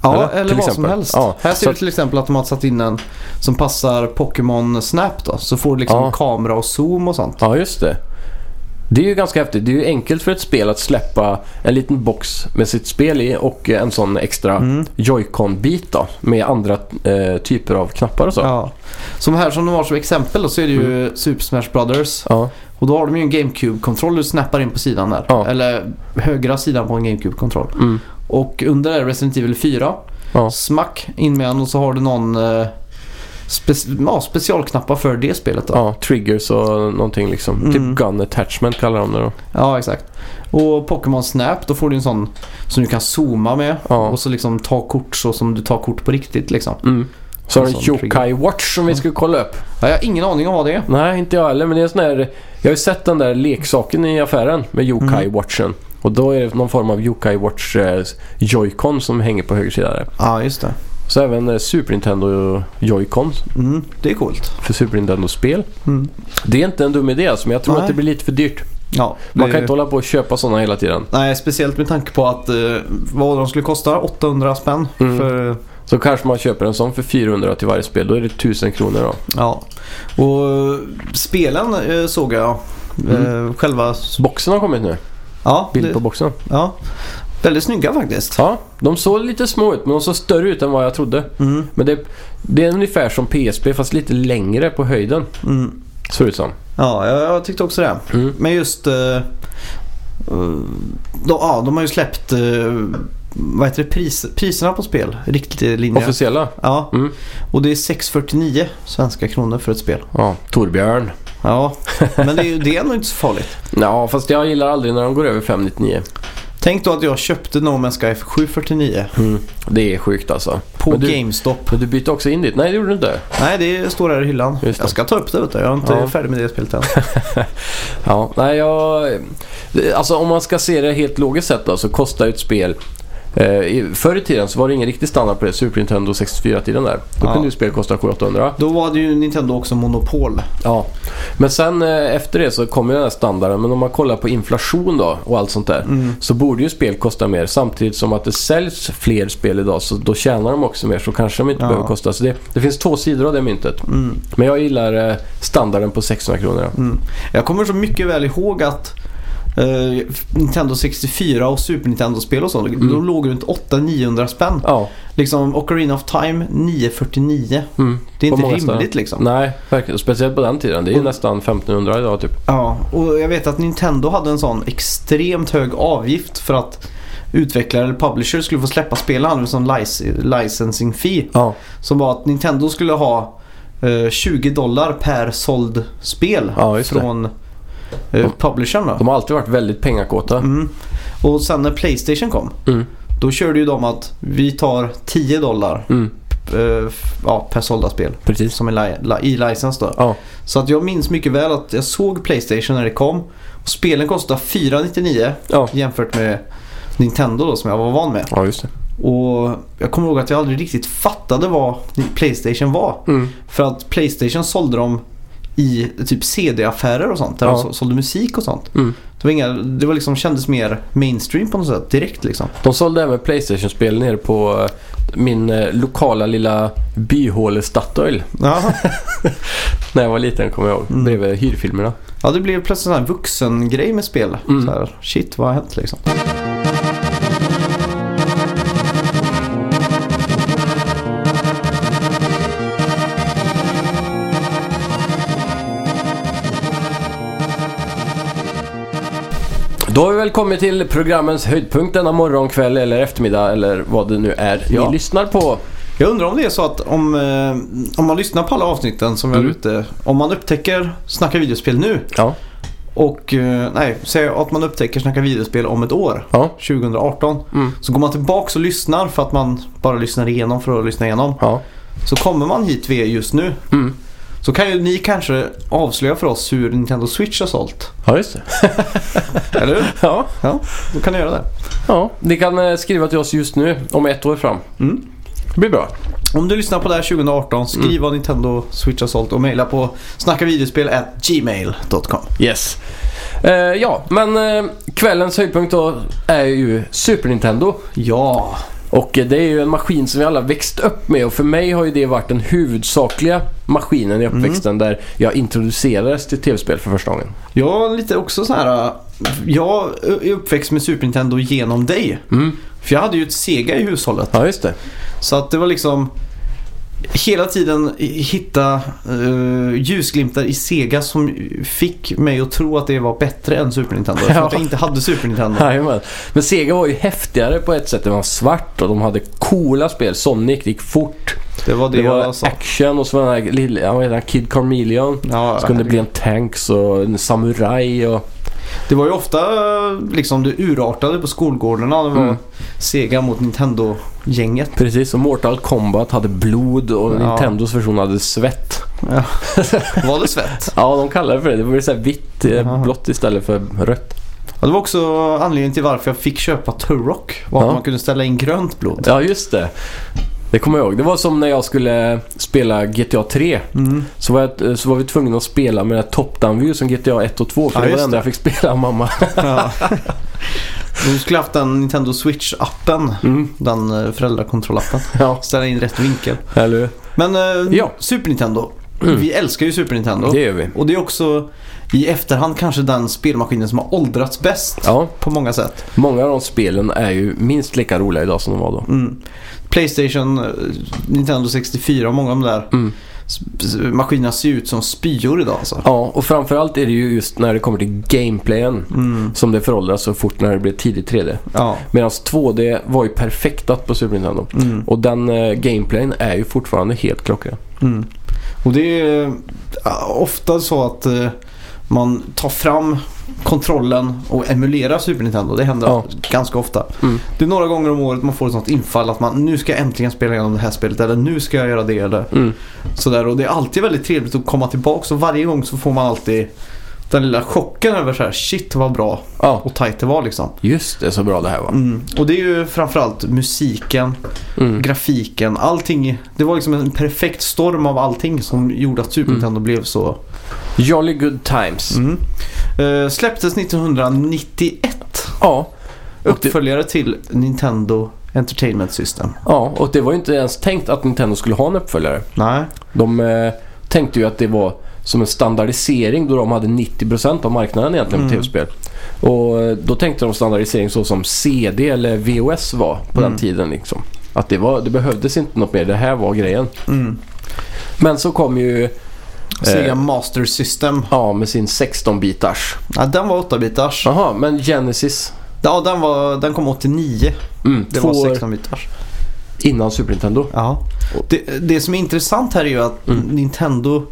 C: Ja,
B: Eller?
C: eller,
B: Till
C: vad som
B: exempel.
C: helst.
B: Ja,
C: Här
B: så
C: ser vi
B: att-
C: till exempel att de har satt in en som passar Pokémon Snap då. Så får du liksom
B: Ja.
C: kamera och zoom och sånt.
B: Ja, just det. Det är ju ganska häftigt. Det är ju enkelt för ett spel att släppa en liten box med sitt spel i och en sån extra Joy-Con-bit då. Med andra eh, typer av knappar och så. Mm.
C: Ja.
B: Ja.
C: Som här som de har som exempel då, så är det ju Super Smash Brothers.
B: Ja.
C: Och då har de ju en GameCube-kontroll du snappar in på sidan där.
B: Ja.
C: Eller högra sidan på en GameCube-kontroll.
B: Mm.
C: Och under är Resident Evil 4.
B: Ja.
C: Smack in med den och så har du någon eh, spe- ja, specialknappar för det spelet då.
B: triggers och någonting liksom.
C: Mm.
B: Typ gun attachment kallar de det då.
C: Ja, exakt. Och Pokémon Snap, då får du en sån som du kan zooma med
B: Ja.
C: och så liksom ta kort så som du tar kort på riktigt liksom.
B: Mm. Så
C: En
B: har du en
C: sån
B: Yokai Watch som vi skulle kolla upp.
C: Ja, jag har ingen aning om vad det är.
B: Nej, inte jag heller. Men det är en sån här... Jag har ju sett den där leksaken i affären med Yokai Watchen. Och då är det någon form av Yokai Watch eh, Joy-Con som hänger på höger sida där.
C: Ja, just det.
B: Så även eh, Super Nintendo Joy-Con
C: Mm, det är coolt.
B: för Super Nintendo-spel.
C: Mm.
B: Det är inte en dum idé alltså, men jag tror
C: Nej.
B: att det blir lite för dyrt.
C: Ja,
B: Man
C: det-
B: kan inte hålla på och köpa sådana hela tiden.
C: Nej, speciellt med tanke på att eh, vad de skulle kosta, 800 spänn.
B: Mm.
C: För,
B: Så kanske man köper en sån för 400 till varje spel. Då är det 1000 kronor då.
C: ja. Och eh, spelen eh, såg jag.
B: Mm.
C: Eh, själva...
B: Boxen har kommit nu.
C: Ja,
B: Bild
C: det-
B: på boxen.
C: ja, väldigt snygga faktiskt.
B: Ja, de såg lite små ut, men de såg större ut än vad jag trodde.
C: Mm,
B: Men det, det är ungefär som PSP, fast lite längre på höjden.
C: mm.
B: Ser det ut som.
C: Ja, jag, jag tyckte också det.
B: Mm.
C: Men just... eh, eh, de, ja, de har ju släppt eh, vad heter det, pris, priserna på spel. Riktlinjer.
B: Officiella.
C: Ja,
B: Mm.
C: och det är 649 svenska kronor för ett spel.
B: Ja, Torbjörn.
C: Ja, men det är, ju- det är nog inte så farligt.
B: Ja, fast jag gillar aldrig när de går över 599.
C: Tänk då att jag köpte No Man's Sky för 749
B: Det är sjukt alltså.
C: på
B: Men du-
C: GameStop.
B: Men du bytte också in ditt? Nej, det gjorde du inte.
C: Nej, det står här i hyllan.
B: Just det.
C: Jag ska ta upp det vet du. Jag är inte
B: Ja.
C: färdig med det spelet än.
B: Ja, nej jag... Alltså om man ska se det helt logiskt sett då, så kostar ju ett spel... Eh, i- förr i tiden så var det ingen riktig standard på det, Super Nintendo 64-tiden där. Då
C: Ja.
B: kunde ju spel kosta 700-800.
C: Då var det ju Nintendo också monopol.
B: Ja. Men sen eh, efter det så kom ju den här standarden. Men om man kollar på inflation då och allt sånt där.
C: Mm.
B: Så borde ju spel kosta mer. Samtidigt som att det säljs fler spel idag så då tjänar de också mer. Så kanske de inte
C: Ja.
B: behöver kosta. Så det, det finns två sidor av det myntet.
C: Mm.
B: Men jag gillar eh, standarden på 600 kronor. ja.
C: Mm. Jag kommer så mycket väl ihåg att eh, Nintendo 64 och Super Nintendo-spel och sånt.
B: Mm.
C: Då låg det runt 800-900 spänn.
B: Ja.
C: Liksom Ocarina of Time 949.
B: Mm.
C: Det är
B: På
C: inte
B: många
C: rimligt
B: ställen.
C: liksom.
B: Nej, verkligen. Speciellt på den tiden. Det är ju
C: Och-
B: nästan 1500 idag typ.
C: Ja, och jag vet att Nintendo hade en sån extremt hög avgift för att utvecklare eller publisher skulle få släppa spelen. Han hade en sån lic- licensing fee.
B: Ja.
C: Som var att Nintendo skulle ha eh, 20 dollar per såld spel
B: Ja, just det.
C: från eh, publishern. Då.
B: De har alltid varit väldigt pengakåta.
C: Mm. Och sen när Playstation kom.
B: Mm.
C: Då körde ju de att vi tar 10 dollar
B: Mm.
C: eh, f- ja, per sålda spel.
B: Precis.
C: Som är li- li- i licens då.
B: Ja.
C: Så att jag minns mycket väl att jag såg Playstation när det kom. Och spelen kostade 499
B: Ja.
C: jämfört med Nintendo då, som jag var van med.
B: ja, just det.
C: Och jag kommer ihåg att jag aldrig riktigt fattade vad Playstation var.
B: Mm.
C: För att Playstation sålde de i typ CD-affärer och sånt. Där
B: Ja.
C: de så- sålde musik och sånt.
B: Mm.
C: Det, var inga, det var liksom, kändes mer mainstream på något sätt direkt liksom.
B: De sålde även Playstation-spel nere på eh, min eh, lokala lilla byhåle Statoil.
C: Ja,
B: När jag var liten kommer jag ihåg. Bredvid hyrfilmerna.
C: ja det blev plötsligt en vuxen-grej med spel.
B: Mm.
C: Så här, shit, vad har hänt liksom?
B: Då har vi väl kommit till programmens höjdpunkt denna morgon, kväll eller eftermiddag eller vad det nu är
C: Ja.
B: ni lyssnar på.
C: Jag undrar om det är så att om, eh, om man lyssnar på alla avsnitten som vi
B: Mm.
C: har ute. Om man upptäcker Snacka videospel nu
B: Ja.
C: och eh, nej, säg att man upptäcker Snacka videospel om ett år.
B: Ja.
C: 2018.
B: Mm.
C: Så går man tillbaks och lyssnar för att man bara lyssnar igenom för att lyssna igenom.
B: Ja.
C: Så kommer man hit vi är just nu
B: Mm.
C: så kan ju ni kanske avslöja för oss hur Nintendo Switch har sålt.
B: Ja, just det.
C: Eller hur?
B: Ja.
C: Ja, då kan ni göra det.
B: ja. Ni kan eh, skriva till oss just nu, om ett år fram.
C: Mm.
B: Det blir bra.
C: Om du lyssnar på det här 2018, skriv
B: Mm.
C: vad Nintendo Switch Assault och mejla på snackavideospel.gmail.com.
B: Yes. Eh, ja, men eh, kvällens höjdpunkt då är ju Super Nintendo.
C: Ja,
B: Och eh, det är ju en maskin som vi alla växt upp med och för mig har ju det varit den huvudsakliga maskinen i uppväxten där jag introducerades till tv-spel för första gången.
C: jag var lite också så här. äh, Jag är uppväxt med Super Nintendo genom dig.
B: Mm.
C: För jag hade ju ett Sega i hushållet.
B: Ja, just det.
C: Så att det var liksom hela tiden hitta eh, ljusglimtar i Sega som fick mig att tro att det var bättre än Super Nintendo. Eftersom
B: Ja.
C: att jag inte hade Super Nintendo.
B: Jajamän. Men Sega var ju häftigare på ett sätt. Det var svart och de hade coola spel. Sonic det gick fort.
C: Det var det,
B: Det alltså. var
C: jag sa.
B: action och så var den här lilla, ja, vad heter han? Kid Carmelion.
C: Ja,
B: Så kunde det bli en tanks och en samuraj och...
C: Det var ju ofta eh, liksom det urartade på skolgårdarna. Det var
B: Mm.
C: Sega mot Nintendo-gänget.
B: Precis, och Mortal Kombat hade blod och
C: Ja.
B: Nintendos version hade svett.
C: Ja. Var det svett?
B: Ja, de kallar det för det. Det blev så här vitt, eh,
C: Jaha.
B: blått istället för rött.
C: Ja, det var också anledningen till varför jag fick köpa Turok. Var att
B: Ja.
C: man kunde ställa in grönt blod.
B: Ja, just det. Det kommer jag ihåg. Det var som när jag skulle spela GTA 3.
C: Mm.
B: Så var, jag, eh, så var vi tvungna att spela med den här top-down view som GTA 1 och 2. För
C: Ja,
B: det var
C: just
B: det enda jag fick spela av mamma.
C: Ja. Du skulle haft den Nintendo Switch-appen.
B: Mm.
C: Den eh, föräldrakontrollappen.
B: Ja,
C: Ställa in rätt vinkel.
B: eller hur?
C: Men eh,
B: Ja.
C: Super Nintendo.
B: Mm.
C: Vi älskar ju Super Nintendo.
B: Det gör vi.
C: Och det är också i efterhand kanske den spelmaskinen som har åldrats bäst.
B: Ja,
C: På många sätt.
B: många av de spelen är ju minst lika roliga idag som de var då.
C: Mm. Playstation, eh, Nintendo 64 och många av de där
B: Mm.
C: s- s- maskinerna ser ju ut som spyor idag alltså.
B: Ja, och framförallt är det ju just när det kommer till gameplayen
C: Mm.
B: som det föråldras så fort när det blir tidigt 3D.
C: Ja.
B: Medan 2D var ju perfektat på Super Nintendo.
C: Mm.
B: Och den eh, gameplayen är ju fortfarande helt klockren.
C: Mm. Och det är eh, ofta så att eh, man tar fram kontrollen och emulerar Super Nintendo. Det händer
B: Ja.
C: ganska ofta.
B: Mm.
C: Det är några gånger om året man får ett sånt infall att man nu ska jag äntligen spela igenom det här spelet eller nu ska jag göra det eller
B: Mm.
C: sådär. Och det är alltid väldigt trevligt att komma tillbaka och varje gång så får man alltid den lilla chocken över så här shit vad bra
B: Ja,
C: och tajt det var liksom.
B: just det. Så bra det här var.
C: Mm. Och det är ju framförallt musiken,
B: Mm.
C: grafiken, allting. Det var liksom en perfekt storm av allting som gjorde att Super
B: Mm.
C: Nintendo blev så.
B: Jolly good times.
C: Mm. Eh, släpptes 1991.
B: Ja. Och det,
C: Uppföljare till Nintendo Entertainment System.
B: ja, och det var ju inte ens tänkt att Nintendo skulle ha en uppföljare.
C: Nej.
B: De eh, tänkte ju att det var som en standardisering då de hade 90% av marknaden egentligen på
C: Mm.
B: tv-spel. Och eh, då tänkte de standardisering så som CD eller VOS var på den
C: Mm.
B: tiden. Liksom. Att det, var, det behövdes inte något mer. Det här var grejen.
C: Mm.
B: Men så kom ju
C: Sega
B: Eh.
C: Master System.
B: Ja, med sin 16-bitars.
C: Ja, den var 8-bitars.
B: Jaha, men Genesis.
C: Ja, den, var, den kom 89.
B: Mm,
C: Det
B: två
C: var
B: år
C: 16-bitars.
B: innan Super Nintendo.
C: Ja. Det, det som är intressant här är ju att
B: Mm.
C: Nintendo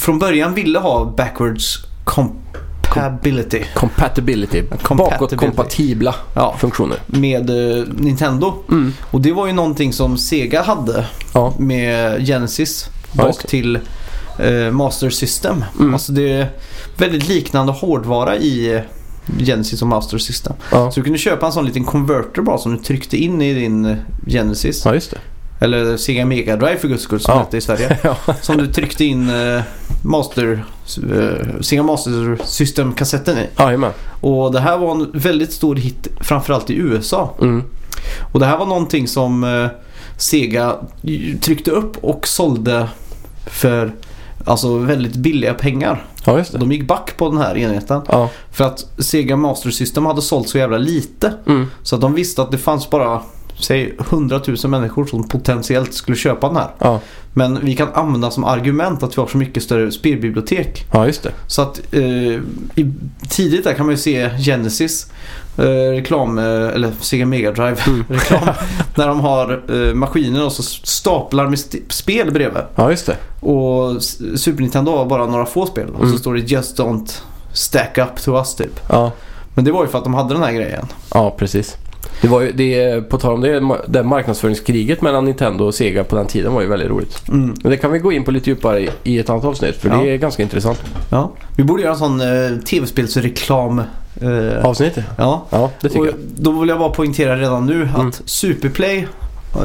C: från början ville ha backwards compatibility
B: Compatibility.
C: Compatibility.
B: Bakåtkompatibla
C: Ja.
B: funktioner.
C: med eh, Nintendo.
B: Mm.
C: Och det var ju någonting som Sega hade
B: Ja.
C: med Genesis
B: Ja,
C: bak
B: just det.
C: till eh, Master System.
B: Mm.
C: Alltså det är väldigt liknande hårdvara i eh, Genesis och Master System.
B: Ja.
C: Så du kunde köpa en sån liten converter bara som du tryckte in i din eh, Genesis.
B: ja, just det.
C: Eller Sega Mega Drive för guds skull som
B: Ja.
C: hette i Sverige.
B: Ja.
C: Som du tryckte in eh, Master, eh, Sega Master System-kassetten i.
B: Jajamän.
C: Och det här var en väldigt stor hit framförallt i USA.
B: Mm.
C: Och det här var någonting som eh, Sega tryckte upp och sålde för alltså väldigt billiga pengar.
B: Ja, just det.
C: De gick back på den här enheten.
B: Ja.
C: För att Sega Master System hade sålt så jävla lite.
B: Mm.
C: Så att de visste att det fanns bara säg 100 000 människor som potentiellt skulle köpa den här.
B: Ja.
C: Men vi kan använda som argument att vi har så mycket större spelbibliotek.
B: ja, just det.
C: Så att eh, i, tidigt där kan man ju se Genesis eh, reklam, eh, eller Sega Mega Drive
B: Mm.
C: reklam. när de har eh, maskiner och så staplar med st- spel bredvid.
B: Ja, just det.
C: Och S- Super Nintendo har bara några få spel. Och
B: Mm.
C: så står det Just Don't Stack Up To Us typ.
B: Ja.
C: Men det var ju för att de hade den här grejen.
B: Ja, precis. Det var ju, det, på tal om det, ma- det marknadsföringskriget mellan Nintendo och Sega på den tiden var ju väldigt roligt.
C: Mm.
B: Men det kan vi gå in på lite djupare i, i ett annat avsnitt, för
C: Ja.
B: det är ganska intressant.
C: Ja. Vi borde göra en sån eh, tv-spelsreklam. Eh, ja.
B: Avsnittet? Ja, det tycker
C: Och
B: jag.
C: då vill jag bara poängtera redan nu
B: Mm.
C: att Superplay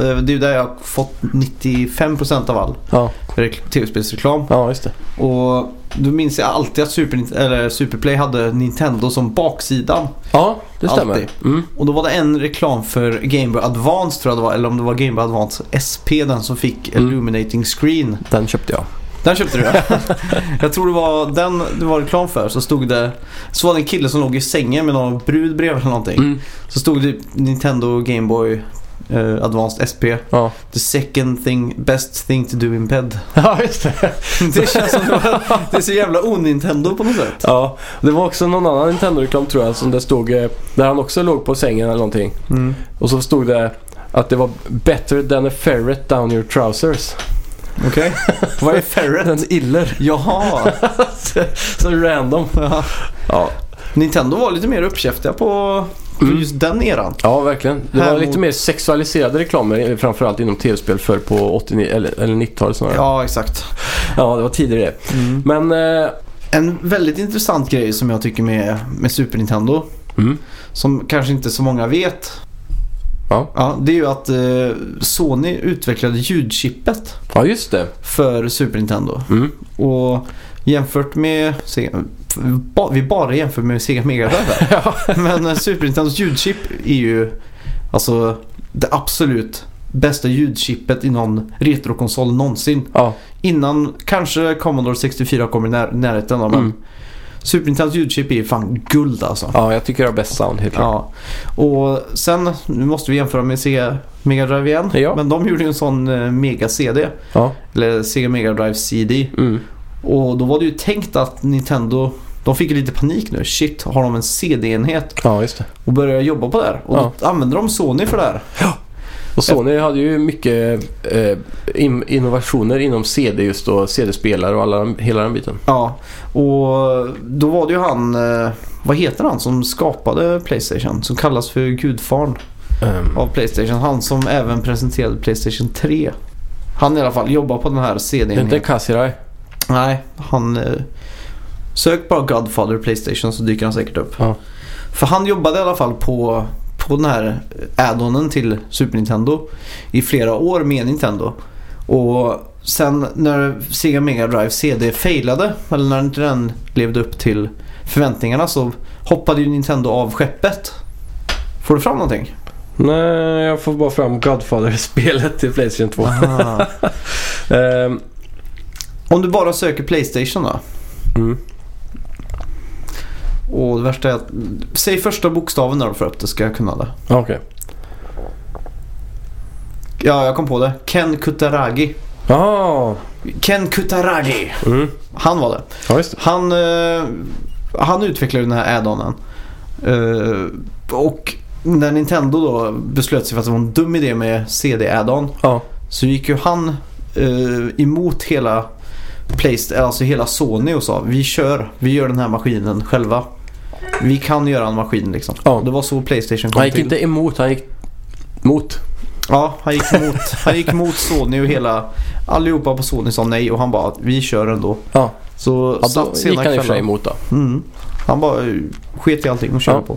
C: Eh, Det är ju där jag har fått 95% av all
B: Ja,
C: rekl- tv-spelsreklam.
B: ja just det.
C: Och då minns jag alltid att Super, Nint- eller Superplay hade Nintendo som baksidan.
B: Ja, det stämmer.
C: Alltid.
B: Mm.
C: Och då var det en reklam för Game Boy Advance tror jag det var. Eller om det var Game Boy Advance SP den som fick
B: Mm.
C: Illuminating Screen.
B: Den köpte jag.
C: Den köpte du ja. Jag tror det var den det var reklam för. Så stod det... Så var det en kille som låg i sängen med någon brud bredvid eller någonting.
B: Mm.
C: Så stod det Nintendo Game Boy eh, Advanced SP.
B: Ja.
C: The second thing, best thing to do in bed.
B: ja, just det.
C: Det känns som det, var, det är så jävla onintendo på något sätt.
B: Ja, det var också någon annan Nintendo-reklam tror jag som det stod, eh, där han också låg på sängen eller någonting.
C: Mm.
B: Och så stod det att det var “Better than a ferret down your trousers”.
C: Okej. Vad är ferret?
B: En iller.
C: Jaha.
B: Så random.
C: Ja.
B: Ja,
C: Nintendo var lite mer uppkäftiga på, på
B: Mm.
C: just den eran.
B: ja verkligen. Det
C: Här
B: var lite
C: mot-
B: mer sexualiserade reklamer eh, framförallt inom tv-spel för på 89 eller, eller 90-talet snarare. Ja.
C: Ja, exakt.
B: det var tidigare det. Men, eh,
C: En väldigt intressant grej som jag tycker med, med Super Nintendo,
B: mm,
C: som kanske inte så många vet.
B: Ja.
C: det är ju att eh, Sony utvecklade ljudchippet
B: ja just det.
C: för Super Nintendo.
B: Mm.
C: Och jämfört med... Se, ba, vi bara jämför med Sega Mega Drive här. Men eh, Super Nintendos ljudchip är ju alltså det absolut bästa ljudchippet i någon retrokonsol någonsin.
B: Ja,
C: Innan kanske Commodore 64 kommer i när, närheten av men
B: Mm.
C: Super Nintendos ljudchip är ju fan guld alltså.
B: ja, jag tycker det har bäst sound helt klart.
C: Ja. Och sen, nu måste vi jämfra med Sega Mega Drive igen.
B: Ja.
C: Men de gjorde ju en sån eh, Mega CD.
B: Ja.
C: Eller Sega Mega Drive CD.
B: Mm.
C: Och då var det ju tänkt att Nintendo, de fick ju lite panik nu. Shit, har de en CD-enhet?
B: ja, just det.
C: Och började jobba på det här. Och då använde de Sony för det här.
B: Och Sony hade ju mycket eh, in- innovationer inom CD just då, CD-spelare och alla, den- hela den biten.
C: Ja, och då var det ju han, eh, vad heter han som skapade Playstation? Som kallas för gudfadern
B: Ehm,
C: av Playstation. Han som även presenterade Playstation 3. Han i alla fall jobbar på den här
B: det är inte
C: CD-enheten.
B: Kasirai.
C: Nej, han... eh, Sök bara Godfather Playstation så dyker han säkert upp.
B: Ja.
C: För han jobbade i alla fall på, på den här addonen till Super Nintendo i flera år med Nintendo. Och sen när Sega Mega Drive CD failade, eller när inte den levde upp till förväntningarna så hoppade ju Nintendo av skeppet. Får du fram någonting?
B: Nej, jag får bara fram Godfather-spelet till Playstation 2. Ehm,
C: Om du bara söker Playstation då.
B: mm.
C: Och det värsta är att... Säg första bokstaven där för att det ska jag kunna det.
B: Okej. Okay.
C: Ja, jag kom på det. Ken Kutaragi.
B: Ah,
C: Ken Kutaragi.
B: mm.
C: Han var det.
B: Ja, just det.
C: Han, eh, han utvecklade den här addonen. Eh, och när Nintendo då beslöt sig för att det var en dum idé med CD-addon
B: Ja.
C: så gick ju han eh, emot hela Playst- alltså hela Sony och sa vi kör, vi gör den här maskinen själva. Vi kan göra en maskin liksom.
B: Ja.
C: Det var så Playstation kom
B: Han gick
C: till.
B: inte emot, han gick mot.
C: Ja, han gick emot, han gick emot Sony och hela allihopa på Sony sa nej och han bara vi kör ändå.
B: Ja,
C: Så
B: ja då
C: satt sena
B: gick han i och för sig
C: kvällar.
B: emot då.
C: Mm. Han bara eh, sket i allting och körde
B: Ja.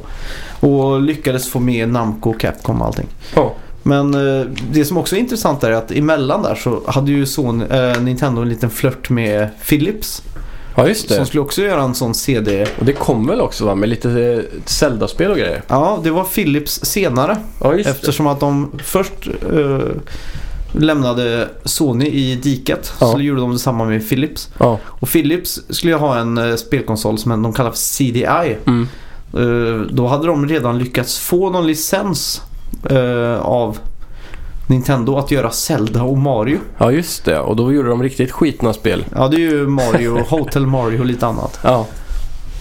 C: på. Och lyckades få med Namco, Capcom och allting.
B: Ja.
C: Men eh, det som också är intressant är att emellan där så hade ju Sony, eh, Nintendo en liten flört med Philips.
B: ja, just
C: Som
B: det.
C: skulle också göra en sån CD.
B: Och det kom väl också va, med lite eh, Zelda-spel och grejer?
C: Ja, det var Philips senare.
B: Ja, just
C: Eftersom att de först eh, lämnade Sony i diket.
B: Ja.
C: Så gjorde de detsamma med Philips.
B: det. Ja.
C: Och Philips skulle ju ha en eh, spelkonsol som de kallar för CDI.
B: Mm.
C: Eh, Då hade de redan lyckats få någon licens eh, av Nintendo att göra Zelda och Mario.
B: ja, just det. Och då gjorde de riktigt skitna spel.
C: Ja, det är ju Mario, Hotel Mario och lite annat.
B: Ja,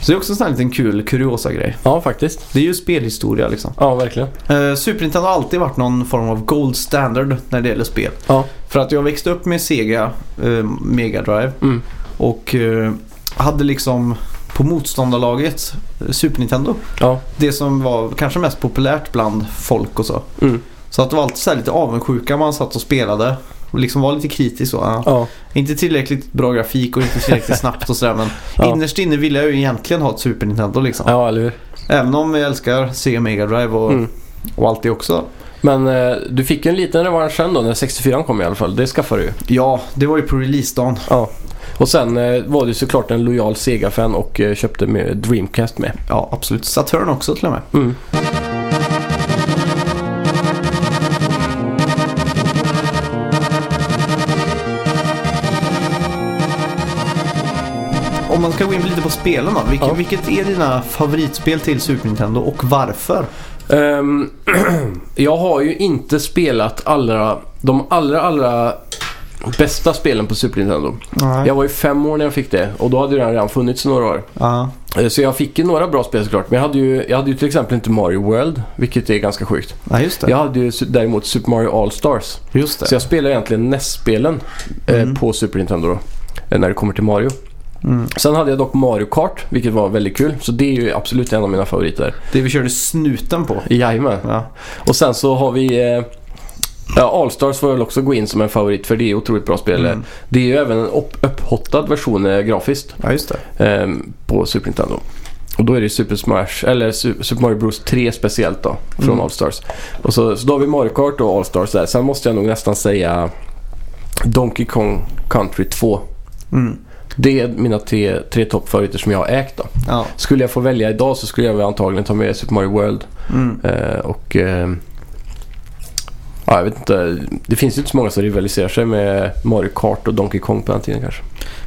C: Så det är också en sån här liten kul kuriosa-grej.
B: ja faktiskt.
C: Det är ju spelhistoria liksom.
B: Ja, verkligen.
C: Eh, Super Nintendo har alltid varit någon form av gold standard när det gäller spel.
B: Ja.
C: För att jag växte upp med Sega eh, Mega Drive
B: Mm.
C: och eh, hade liksom på motståndarlaget eh, Super Nintendo.
B: Ja.
C: Det som var kanske mest populärt bland folk och så.
B: Mm.
C: Så att det var alltid så här lite avundsjuka man satt och spelade. Och liksom var lite kritisk så. Ja.
B: Ja.
C: Inte tillräckligt bra grafik och inte tillräckligt snabbt och sådär. Men
B: Ja.
C: innerst inne ville jag ju egentligen ha ett Super Nintendo liksom.
B: ja, eller hur?
C: Även om jag älskar Sega Mega Drive och,
B: Mm.
C: och allt det också.
B: Men eh, du fick ju en liten revansch sen då när 64 kom i alla fall. Det skaffade du ju.
C: Ja, det var ju på releasedagen.
B: Ja. Och sen eh, var du såklart en lojal Sega-fan och eh, köpte med Dreamcast med.
C: Ja, absolut. Saturn också till och med.
B: Mm.
C: Om man ska gå in lite på spelen då. Vilket,
B: Ja.
C: vilket är dina favoritspel till Super Nintendo och varför?
B: Ehm, jag har ju inte spelat allra, de allra, allra bästa spelen på Super Nintendo.
C: Nej.
B: Jag var ju fem år när jag fick det och då hade det redan funnits några år.
C: Ja.
B: Eh, Så jag fick ju några bra spel såklart. Men jag hade ju, jag hade ju till exempel inte Mario World, vilket är ganska sjukt.
C: ja, just det.
B: Jag hade ju su- däremot Super Mario All-Stars.
C: Just det.
B: Så jag spelar egentligen NES-spelen eh,
C: Mm.
B: på Super Nintendo då, eh, när det kommer till Mario.
C: Mm.
B: Sen hade jag dock Mario Kart, vilket var väldigt kul. Så det är ju absolut en av mina favoriter.
C: Det vi körde snuten på.
B: Jajamän.
C: Ja.
B: Och sen så har vi... Eh, ja, Allstars får jag väl också gå in som en favorit för det är otroligt bra spel.
C: Mm.
B: Det är ju även en upp- upphottad version eh, grafiskt
C: ja, just det.
B: eh, på Super Nintendo. Och då är det Super Smash, eller Su- Super Mario Bros 3 speciellt då, från
C: Mm.
B: Allstars. Och så, så då har vi Mario Kart och Allstars där. Sen måste jag nog nästan säga Donkey Kong Country 2.
C: Mm.
B: Det är mina tre, tre toppfavoriter som jag har ägt då.
C: Ja.
B: Skulle jag få välja idag så skulle jag väl antagligen ta med Super Mario World
C: Mm.
B: Eh, och... Eh, ja, jag vet inte. Det finns ju inte så många som rivaliserar sig med Mario Kart och Donkey Kong på den tiden kanske.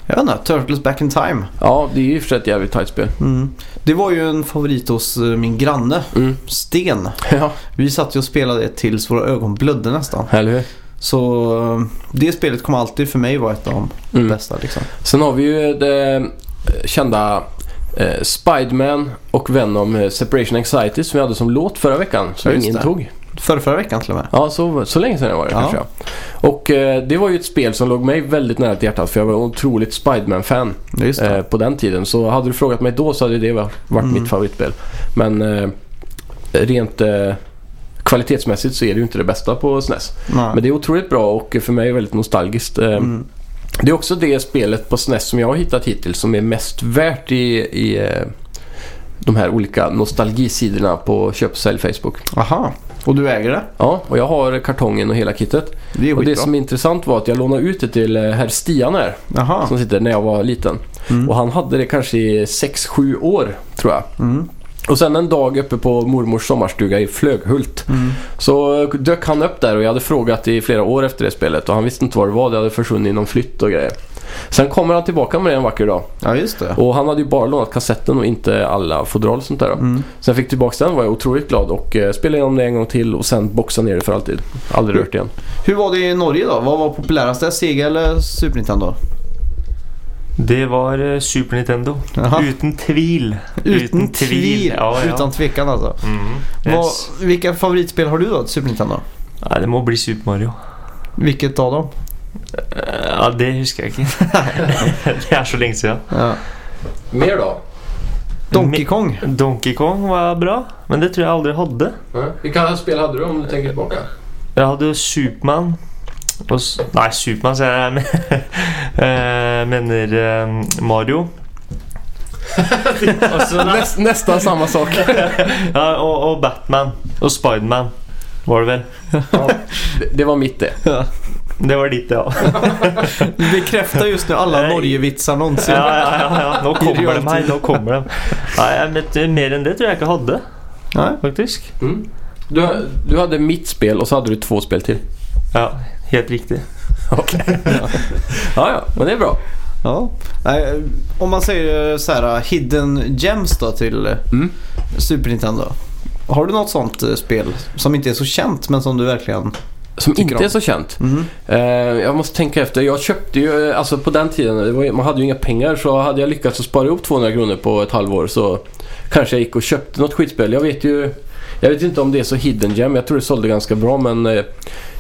C: Jag vet inte, Turtles Back in Time.
B: Ja, det är ju i och för sig ett jävligt tajt spel.
C: Mm. Det var ju en favorit hos eh, min granne,
B: Mm.
C: Sten.
B: Ja,
C: Vi satt ju och spelade det tills våra ögon blödde nästan.
B: eller hur?
C: Så eh, det spelet kommer alltid för mig vara ett av de
B: Mm.
C: bästa liksom.
B: Sen har vi ju det eh, kända eh, Spiderman och Venom eh, Separation Anxiety som vi hade som låt förra veckan som
C: Ja, just
B: ingen
C: det.
B: tog.
C: Förra, förra veckan till och med.
B: Ja, så, så länge sedan det var det
C: Ja.
B: kanske. ja. Och eh, det var ju ett spel som låg mig väldigt nära till hjärtat för jag var otroligt Spiderman-fan.
C: Just det.
B: eh, på den tiden. Så hade du frågat mig då så hade det varit
C: Mm.
B: mitt favoritspel. Men eh, rent eh, kvalitetsmässigt så är det ju inte det bästa på SNES.
C: Nej.
B: Men det är otroligt bra och för mig är det väldigt nostalgiskt. Eh,
C: Mm.
B: Det är också det spelet på SNES som jag har hittat hittills som är mest värt i, i eh, de här olika nostalgisidorna på köp och sälj Facebook.
C: Aha, och du äger det?
B: Ja, och jag har kartongen och hela kittet.
C: Det är
B: Och
C: skitbra.
B: det som är intressant var att jag lånade ut det till eh, herr Stian här
C: Aha.
B: som sitter när jag var liten.
C: Mm.
B: Och han hade det kanske i 6-7 år tror jag.
C: Mm.
B: Och sen en dag uppe på mormors sommarstuga i Flöghult
C: Mm.
B: så dök han upp där och jag hade frågat i flera år efter det spelet och han visste inte vad det var. Det hade försvunnit i någon flytt och grejer. Sen kommer han tillbaka med det en vacker dag
C: Ja, just det.
B: och han hade ju bara lånat kassetten och inte alla fodral och sånt där. Då.
C: Mm.
B: Sen fick tillbaka den var jag otroligt glad och eh, spelade igenom det en gång till och sen boxade ner det för alltid. Aldrig rört igen.
C: Hur var det i Norge då? Vad var populärast där? Sega eller Super Nintendo?
A: Det var eh, Super Nintendo.
C: Jaha.
A: Utan tvil. Ja, ja.
C: Utan tvekan alltså.
A: Mm. Yes.
C: Vad, vilka favoritspel har du då till Super Nintendo?
A: Ja, det må bli Super Mario.
C: Vilket av dem?
A: Eh, Ja, det husker jeg ikke. det er så lenge siden.
C: Ja.
B: Mer då?
C: Donkey Kong?
A: Donkey Kong var bra, men det tror jag aldri jeg hadde.
B: Vilka spel hade du om du tänker tillbaka?
A: Jeg hadde jo Supermann. Og, s- nei, Supermann sier jeg. men- eh, Mener eh, Mario. og, så, nei,
B: Näst, nästan samma sak.
A: ja, og, og Batman. Og Spiderman, var det vel.
B: Det- Det var mitt det.
A: Det var ditt, ja.
C: Du bekräftar just nu alla
A: Nej.
C: Norge-vitsar någonsin.
A: Ja, ja, ja, ja. Nå kommer de her. Nå kommer de. Nei, jeg vet, mer enn det tror jeg ikke jeg hadde,
C: Nej.
A: faktisk.
B: Mm. Du, du hade mitt spel och så hade du två spel till.
A: Ja, helt riktig.
B: Okej. ja, ja, men det är bra.
C: Ja. Nej, Om man säger eh, så här Hidden Gems då till eh,
B: Mm.
C: Super Nintendo. Har du något sånt eh, spel som inte är så känt men som du verkligen...
B: Som
C: Tycker
B: inte
C: om.
B: är så känt.
C: Mhm.
B: Eh, jag måste tänka efter. Jag köpte ju, eh, alltså på den tiden, det var, ju- man hade ju inga pengar så hade jag lyckats att spara ihop 200 kronor på ett halvår så kanske jag gick och köpte något skitspel. Jag vet ju, jag vet inte om det är så hidden gem. Jag tror det sålde ganska bra men eh,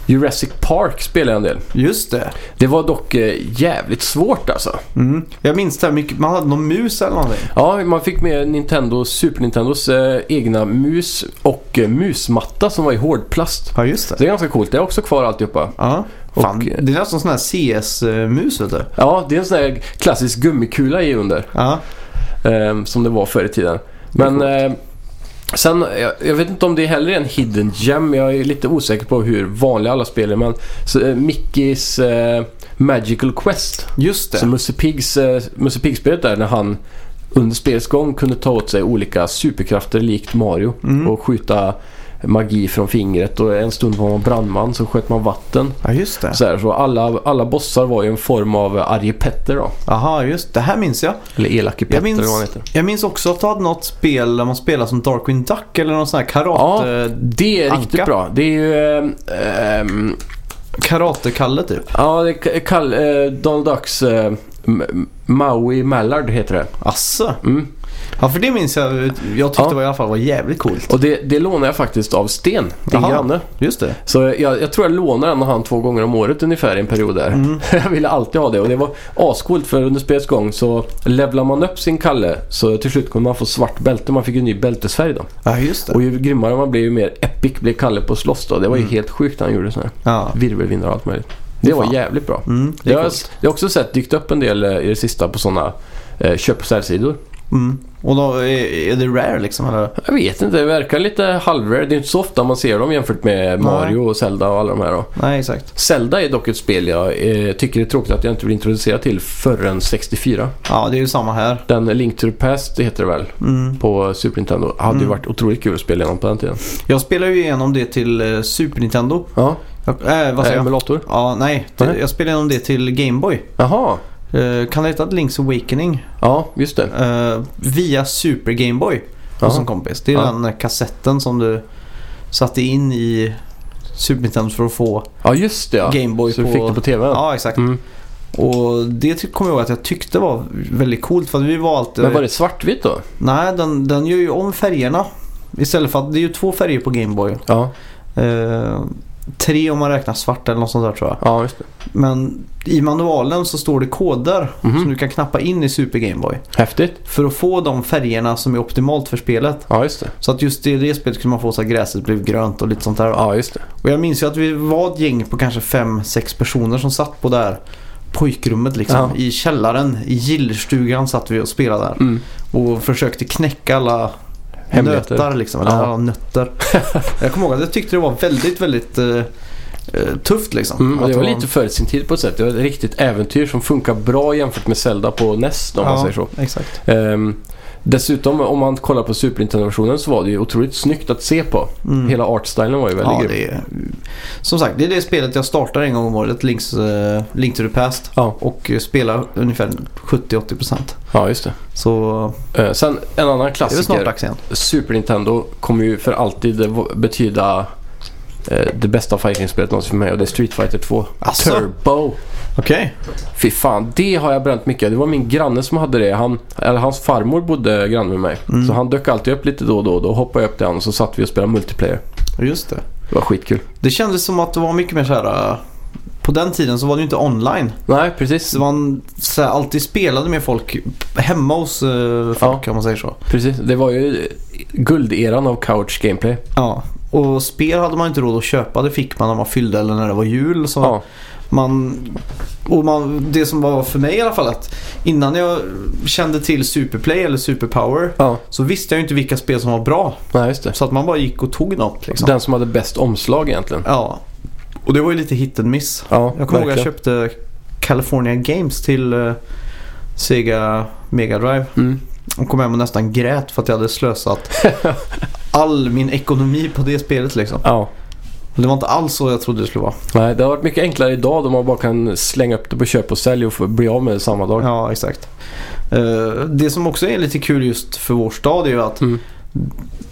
B: Jurassic Park spelade jag en del.
C: Just det.
B: Det var dock eh, jävligt svårt alltså.
C: Mm. Jag minns det här mycket. Man hade någon mus eller någonting.
B: Ja, man fick med Nintendo, Super Nintendos eh, egna mus och eh, musmatta som var i hårdplast.
C: Ja, just
B: Så det är ganska coolt. Det är också kvar alltihopa.
C: Ja. Fan,
B: Och-
C: det är nästan sån här CS-mus vet du.
B: Ja, det är en sån här klassisk gummikula i under. ehm,
C: Ja.
B: Eh, som det var förr i tiden. Men eh, Sen, jag, jag vet inte om det heller är en hidden gem. Jag är lite osäker på hur vanliga alla spel är. Men så, eh, Mickeys eh, Magical Quest.
C: Just det.
B: Så Musse Pigs, eh, Musse Pigg-spelet där när han under spelets gång kunde ta åt sig olika superkrafter likt Mario
C: Mm.
B: och skjuta magi från fingret och en stund var man brandman så sköt man vatten.
C: Ja, just det.
B: Så, här, så alla, alla bossar var ju en form av arge Petter då.
C: Aha, just det. här minns jag.
B: Eller elake Petter
C: Jag
B: eller vad han
C: minns,
B: heter.
C: jag minns också att du hade något spel där man spelar som Darkwing Duck eller någon sån här karate,
B: Ja, det är riktigt
C: eh, Anka.
B: bra. Det är ju... ehm, ehm,
C: karate-Kalle typ.
B: ja, det är Kall, eh, Donald Ducks eh, M- M- Maui Mallard heter det.
C: Asså?
B: Mm.
C: Ja, för det minns jag. Jag tyckte
B: Ja.
C: det var i alla fall var jävligt coolt.
B: Och det, det lånar jag faktiskt av Sten, din
C: Jaha.
B: granne.
C: Just det.
B: Så jag, jag tror jag lånade den av han två gånger om året ungefär i en period där.
C: Mm.
B: Jag ville alltid ha det och det var ascoolt för under spelets gång så levlar man upp sin kalle så till slut kunde man få svart bälte. Man fick ju en ny bältesfärg då.
C: Ja, just det.
B: Och ju grymmare man blev ju mer epic blev Kalle på slåss då. Det var ju helt sjukt när han gjorde sådana här
C: Ja.
B: virvelvindar och allt möjligt. Det var
C: Mm. Fan.
B: jävligt bra.
C: Mm, det
B: Jag
C: är
B: har,
C: coolt.
B: jag har också sett dykt upp en del eh, i det sista på sådana eh, köp och säljsidor.
C: Mm. Och då är, är det rare liksom? Eller?
B: Jag vet inte, det verkar lite halvrare. Det är inte så ofta man ser dem jämfört med Mario och Zelda och alla de här då.
C: Nej, exakt.
B: Zelda är dock ett spel jag eh, tycker det är tråkigt att jag inte blir introducerad till förrän 64.
C: Ja, det är ju samma här.
B: Den Link to the Past heter det väl
C: Mm.
B: på Super Nintendo. Hade ju varit otroligt kul att spela igenom på den tiden.
C: Jag spelar ju igenom det till eh, Super Nintendo.
B: Ja,
C: Jag, äh, vad
B: eh,
C: säger jag?
B: emulator.
C: Ja, nej. Till,
B: Nej.
C: Jag spelade igenom det till Gameboy.
B: Jaha,
C: Eh, kan det heta Link's Awakening?
B: ja just det.
C: Eh, via Super Gameboy
B: Ja.
C: hos en kompis. Det är
B: Ja.
C: den eh, kassetten som du satte in i Super Nintendo för att få
B: Ja just det ja.
C: Gameboy
B: Så
C: på...
B: du fick det på TVn?
C: Ja, exakt.
B: Mm.
C: Och det ty- kommer jag ihåg att jag tyckte var väldigt coolt för att vi var alltid...
B: Men var det svartvitt då?
C: Nej, den, den gör ju om färgerna. Istället för att det är ju två färger på Gameboy.
B: Ja,
C: Eh, tre om man räknar svart eller något sånt där tror jag.
B: ja just det.
C: Men i manualen så står det koder
B: Mhm.
C: som du kan knappa in i Super Gameboy.
B: Häftigt.
C: För att få de färgerna som är optimalt för spelet.
B: Ja just det.
C: Så att just i det spelet kunde man få så att gräset blev grönt och lite sånt där.
B: Ja just det.
C: Och jag minns ju att vi var ett gäng på kanske fem sex personer som satt på det här pojkrummet liksom.
B: Ja.
C: I källaren, i gillstugan satt vi och spelade där.
B: Mm.
C: Och försökte knäcka alla
B: Hemligheter.
C: nötar liksom. Eller
B: Ja.
C: alla nötter. jag kommer ihåg att jag tyckte det var väldigt, väldigt eh, eh, tufft liksom.
B: Mm, och
C: Att
B: det var lite före sin tid på ett sätt. Det var ett riktigt äventyr som funkar bra jämfört med Zelda på NES om man säger så.
C: Exakt.
B: Ehm, dessutom om man kollar på Super Nintendo-versionen så var det ju otroligt snyggt att se på.
C: Mm.
B: Hela artstylen var ju väldigt
C: Ja,
B: grym.
C: det är, som sagt, det är det spelet jag startar en gång om året, Links, eh, Link to the Past.
B: Ja.
C: Och eh, spelar ungefär 70-80%.
B: Ja, just det.
C: Så
B: Ehm, sen en annan
C: det är väl snart
B: klassiker.
C: dags igen.
B: Super Nintendo kommer ju för alltid eh, v- betyda eh, det bästa fighting-spelet någonsin för mig och det är Street Fighter 2.
C: Asså?
B: Alltså, Turbo.
C: Okej.
B: Fy fan, det har jag bränt mycket. Det var min granne som hade det. Han, eller hans farmor bodde granne med mig.
C: Mm.
B: Så han dök alltid upp lite då och då. Då hoppade jag upp till honom och så satt vi och spelade multiplayer.
C: Just det.
B: Det var skitkul.
C: Det kändes som att det var mycket mer så här. eh, På den tiden så var det ju inte online.
B: Nej, precis.
C: Så man så här, alltid spelade med folk hemma hos eh, folk om man säger så.
B: precis. Det var ju gulderan av couch gameplay.
C: Ja. Och spel hade man inte råd att köpa. Det fick man när man fyllde eller när det var jul. Så
B: Ja.
C: man, och man, det som var för mig i alla fall att innan jag kände till Superplay eller Superpower
B: ja.
C: så visste jag ju inte vilka spel som var bra.
B: Nej, just det.
C: Så att man bara gick och tog något liksom.
B: Den som hade bäst omslag egentligen.
C: Ja. Och det var ju lite hit and miss.
B: Ja,
C: Jag kommer ihåg att jag
B: verkligen.
C: köpte California Games till eh, Sega Mega Drive.
B: Mm.
C: Och kom hem och nästan grät för att jag hade slösat all min ekonomi på det spelet liksom.
B: Ja.
C: Det var inte alls så jag trodde det skulle vara.
B: Nej, det har varit mycket enklare idag då man bara kan slänga upp det på köp och sälj och få bli av med det samma dag.
C: Ja, exakt. Eh, Det som också är lite kul just för vår stad är ju att
B: Mm.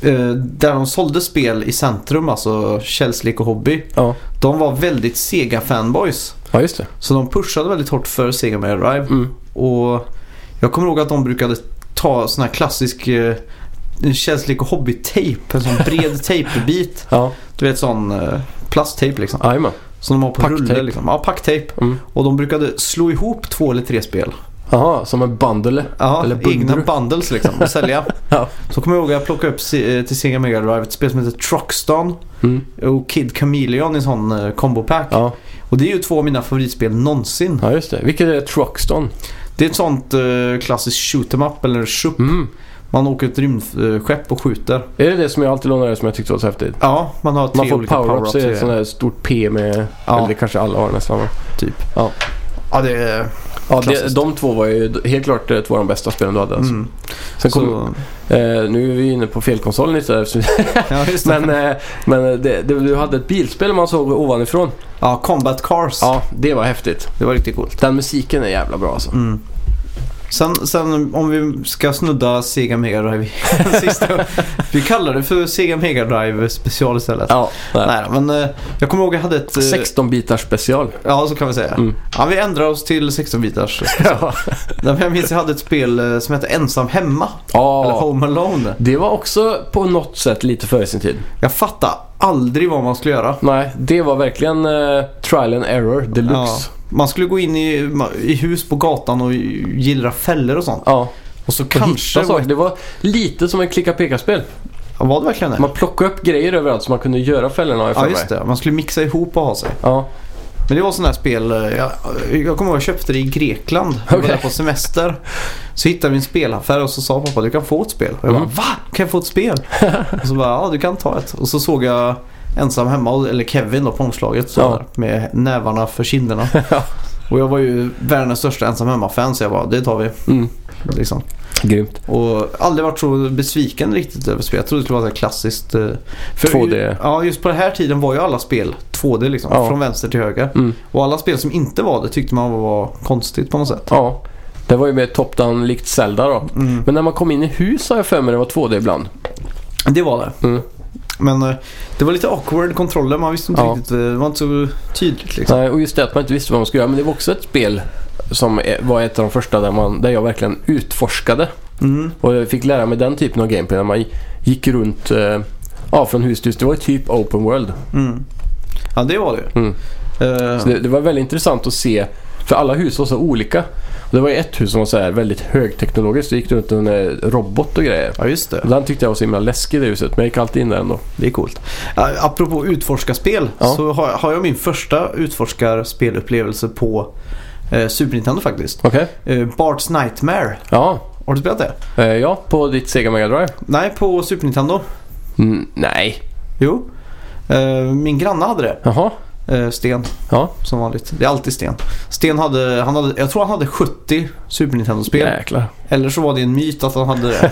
C: eh, där de sålde spel i centrum, alltså Källslek och Hobby,
B: Ja,
C: de var väldigt Sega-fanboys.
B: ja just det.
C: Så de pushade väldigt hårt för Sega Mega Drive.
B: Mm.
C: Och jag kommer ihåg att de brukade ta sån här klassisk eh, känslig och hobbytejp. En sån bred tejpbit.
B: Ja,
C: Du vet sån eh, plasttejp liksom.
B: jajamän.
C: Som de har på
B: Packtejp.
C: rulle liksom. Ja, packtejp.
B: Mm.
C: Och de brukade slå ihop två eller tre spel.
B: Jaha, som en bundle.
C: Ja,
B: Eller bundle.
C: egna bundles liksom och sälja.
B: Ja.
C: Så kommer jag ihåg att jag plockade upp se- eh, till Sega Mega Drive ett spel som heter Truckston
B: Mm.
C: och Kid Chameleon i en sån eh, combo pack.
B: Ja.
C: Och det är ju två av mina favoritspel någonsin.
B: ja, just det. Vilket är Truckston?
C: Det är ett sånt eh, klassiskt shoot em up eller shoot
B: Mm.
C: Man åker ett rymdskepp och skjuter.
B: Är det det som jag alltid lånade som jag tyckte var så häftigt?
C: Ja, man har tre
B: Man får
C: olika
B: power-ups, det är ett sånt
C: power-ups.
B: där stort P med...
C: Ja.
B: Eller det kanske alla har nästan va?
C: Typ.
B: Ja.
C: Ja, det är...
B: Ja, det,
C: Klassiskt.
B: de två var ju helt klart eh, två av de bästa spelen du hade alltså.
C: Mm.
B: Sen kom,
C: Så,
B: eh, nu är vi inne på fel konsol lite eftersom-
C: ja, just det.
B: Men, eh, men eh, det, det, du hade ett bilspel man såg ovanifrån.
C: Ja, Combat Cars.
B: Ja, det var häftigt.
C: Det var riktigt coolt.
B: Den musiken är jävla bra alltså.
C: Mm. Sen, sen om vi ska snudda Sega Mega Drive i sista. Vi kallar det för Sega Mega Drive special istället.
B: Ja, där.
C: Nej, men eh, jag kommer ihåg jag hade ett... eh,
B: 16 bitars special.
C: Ja, så kan vi säga.
B: Mm.
C: Ja, vi ändrar oss till 16-bitars.
B: Ja,
C: Nej, men Jag minns jag hade ett spel eh, som hette Ensam Hemma. Eller Home Alone.
B: det var också på något sätt lite före sin tid.
C: Jag fattade aldrig vad man skulle göra.
B: Nej, det var verkligen eh, trial and error deluxe.
C: Man skulle gå in i, i hus på gatan och gillra fällor och sånt.
B: Ja,
C: Och så
B: och
C: kanske...
B: hitta
C: det var-
B: saker. Det var lite som en klicka-peka-spel.
C: Ja, Var det verkligen det?
B: Man plockade upp grejer överallt så man kunde göra fällorna har jag för
C: Ja,
B: mig.
C: just det. Man skulle mixa ihop och ha sig.
B: Ja,
C: Men det var sådana här spel. eh, Jag, jag kommer ihåg jag köpte det i Grekland. Jag var
B: Okej.
C: där på semester. Så hittade vi en spelaffär och så sa pappa du kan få ett spel. Och jag bara
B: Mm.
C: va? Kan jag få ett spel? och så bara ja du kan ta ett. Och så såg jag ensam hemma, eller Kevin då på omslaget. Så
B: Ja.
C: där, med nävarna för kinderna. och jag var ju världens största ensam hemma-fan så jag bara det tar vi.
B: mm.
C: Liksom.
B: grymt.
C: Och aldrig varit så besviken riktigt över spel. Jag trodde det skulle vara ett klassiskt... eh, för-
B: 2D.
C: Ja, just på den här tiden var ju alla spel 2D liksom.
B: Ja.
C: Från vänster till höger.
B: Mm.
C: Och alla spel som inte var det tyckte man var konstigt på något sätt.
B: Ja, det var ju mer top-down likt Zelda då.
C: Mm.
B: Men när man kom in i hus har jag för mig det var 2D ibland.
C: Det var det.
B: Mm.
C: Men eh, det var lite awkward kontroller. Man visste inte
B: Ja.
C: riktigt. eh, Det var inte så tydligt liksom.
B: Nej, och just det att man inte visste vad man skulle göra. Men det var också ett spel som eh, var ett av de första där, man, där jag verkligen utforskade.
C: Mm.
B: Och jag fick lära mig den typen av gameplay när man gick runt eh, ja, från hus till hus. Det var ju typ open world.
C: Mm. Ja, det var det ju.
B: Mm.
C: Eh,
B: Så det, det var väldigt intressant att se. För alla hus var så olika. Och det var ju ett hus som var så här väldigt högteknologiskt. Det gick runt en eh, robot och grejer.
C: Ja, just det.
B: Och Den tyckte jag var så himla läskig det huset. Men jag gick alltid in där ändå.
C: Det är coolt. Uh, apropå utforskarspel
B: Ja.
C: så har, har jag min första utforskarspelupplevelse på eh, Super Nintendo faktiskt.
B: Okej.
C: Eh, Bart's Nightmare.
B: Ja.
C: Har du spelat det?
B: Eh, ja, på ditt Sega Mega Drive.
C: Nej, på Super Nintendo.
B: Mm, nej.
C: Jo. Eh, Min granne hade det.
B: Jaha.
C: Eh, Sten,
B: Ja.
C: som vanligt. Det är alltid Sten. Sten hade, han hade, jag tror han hade 70 Super Nintendo-spel.
B: Jäklar.
C: Eller så var det en myt att han hade det.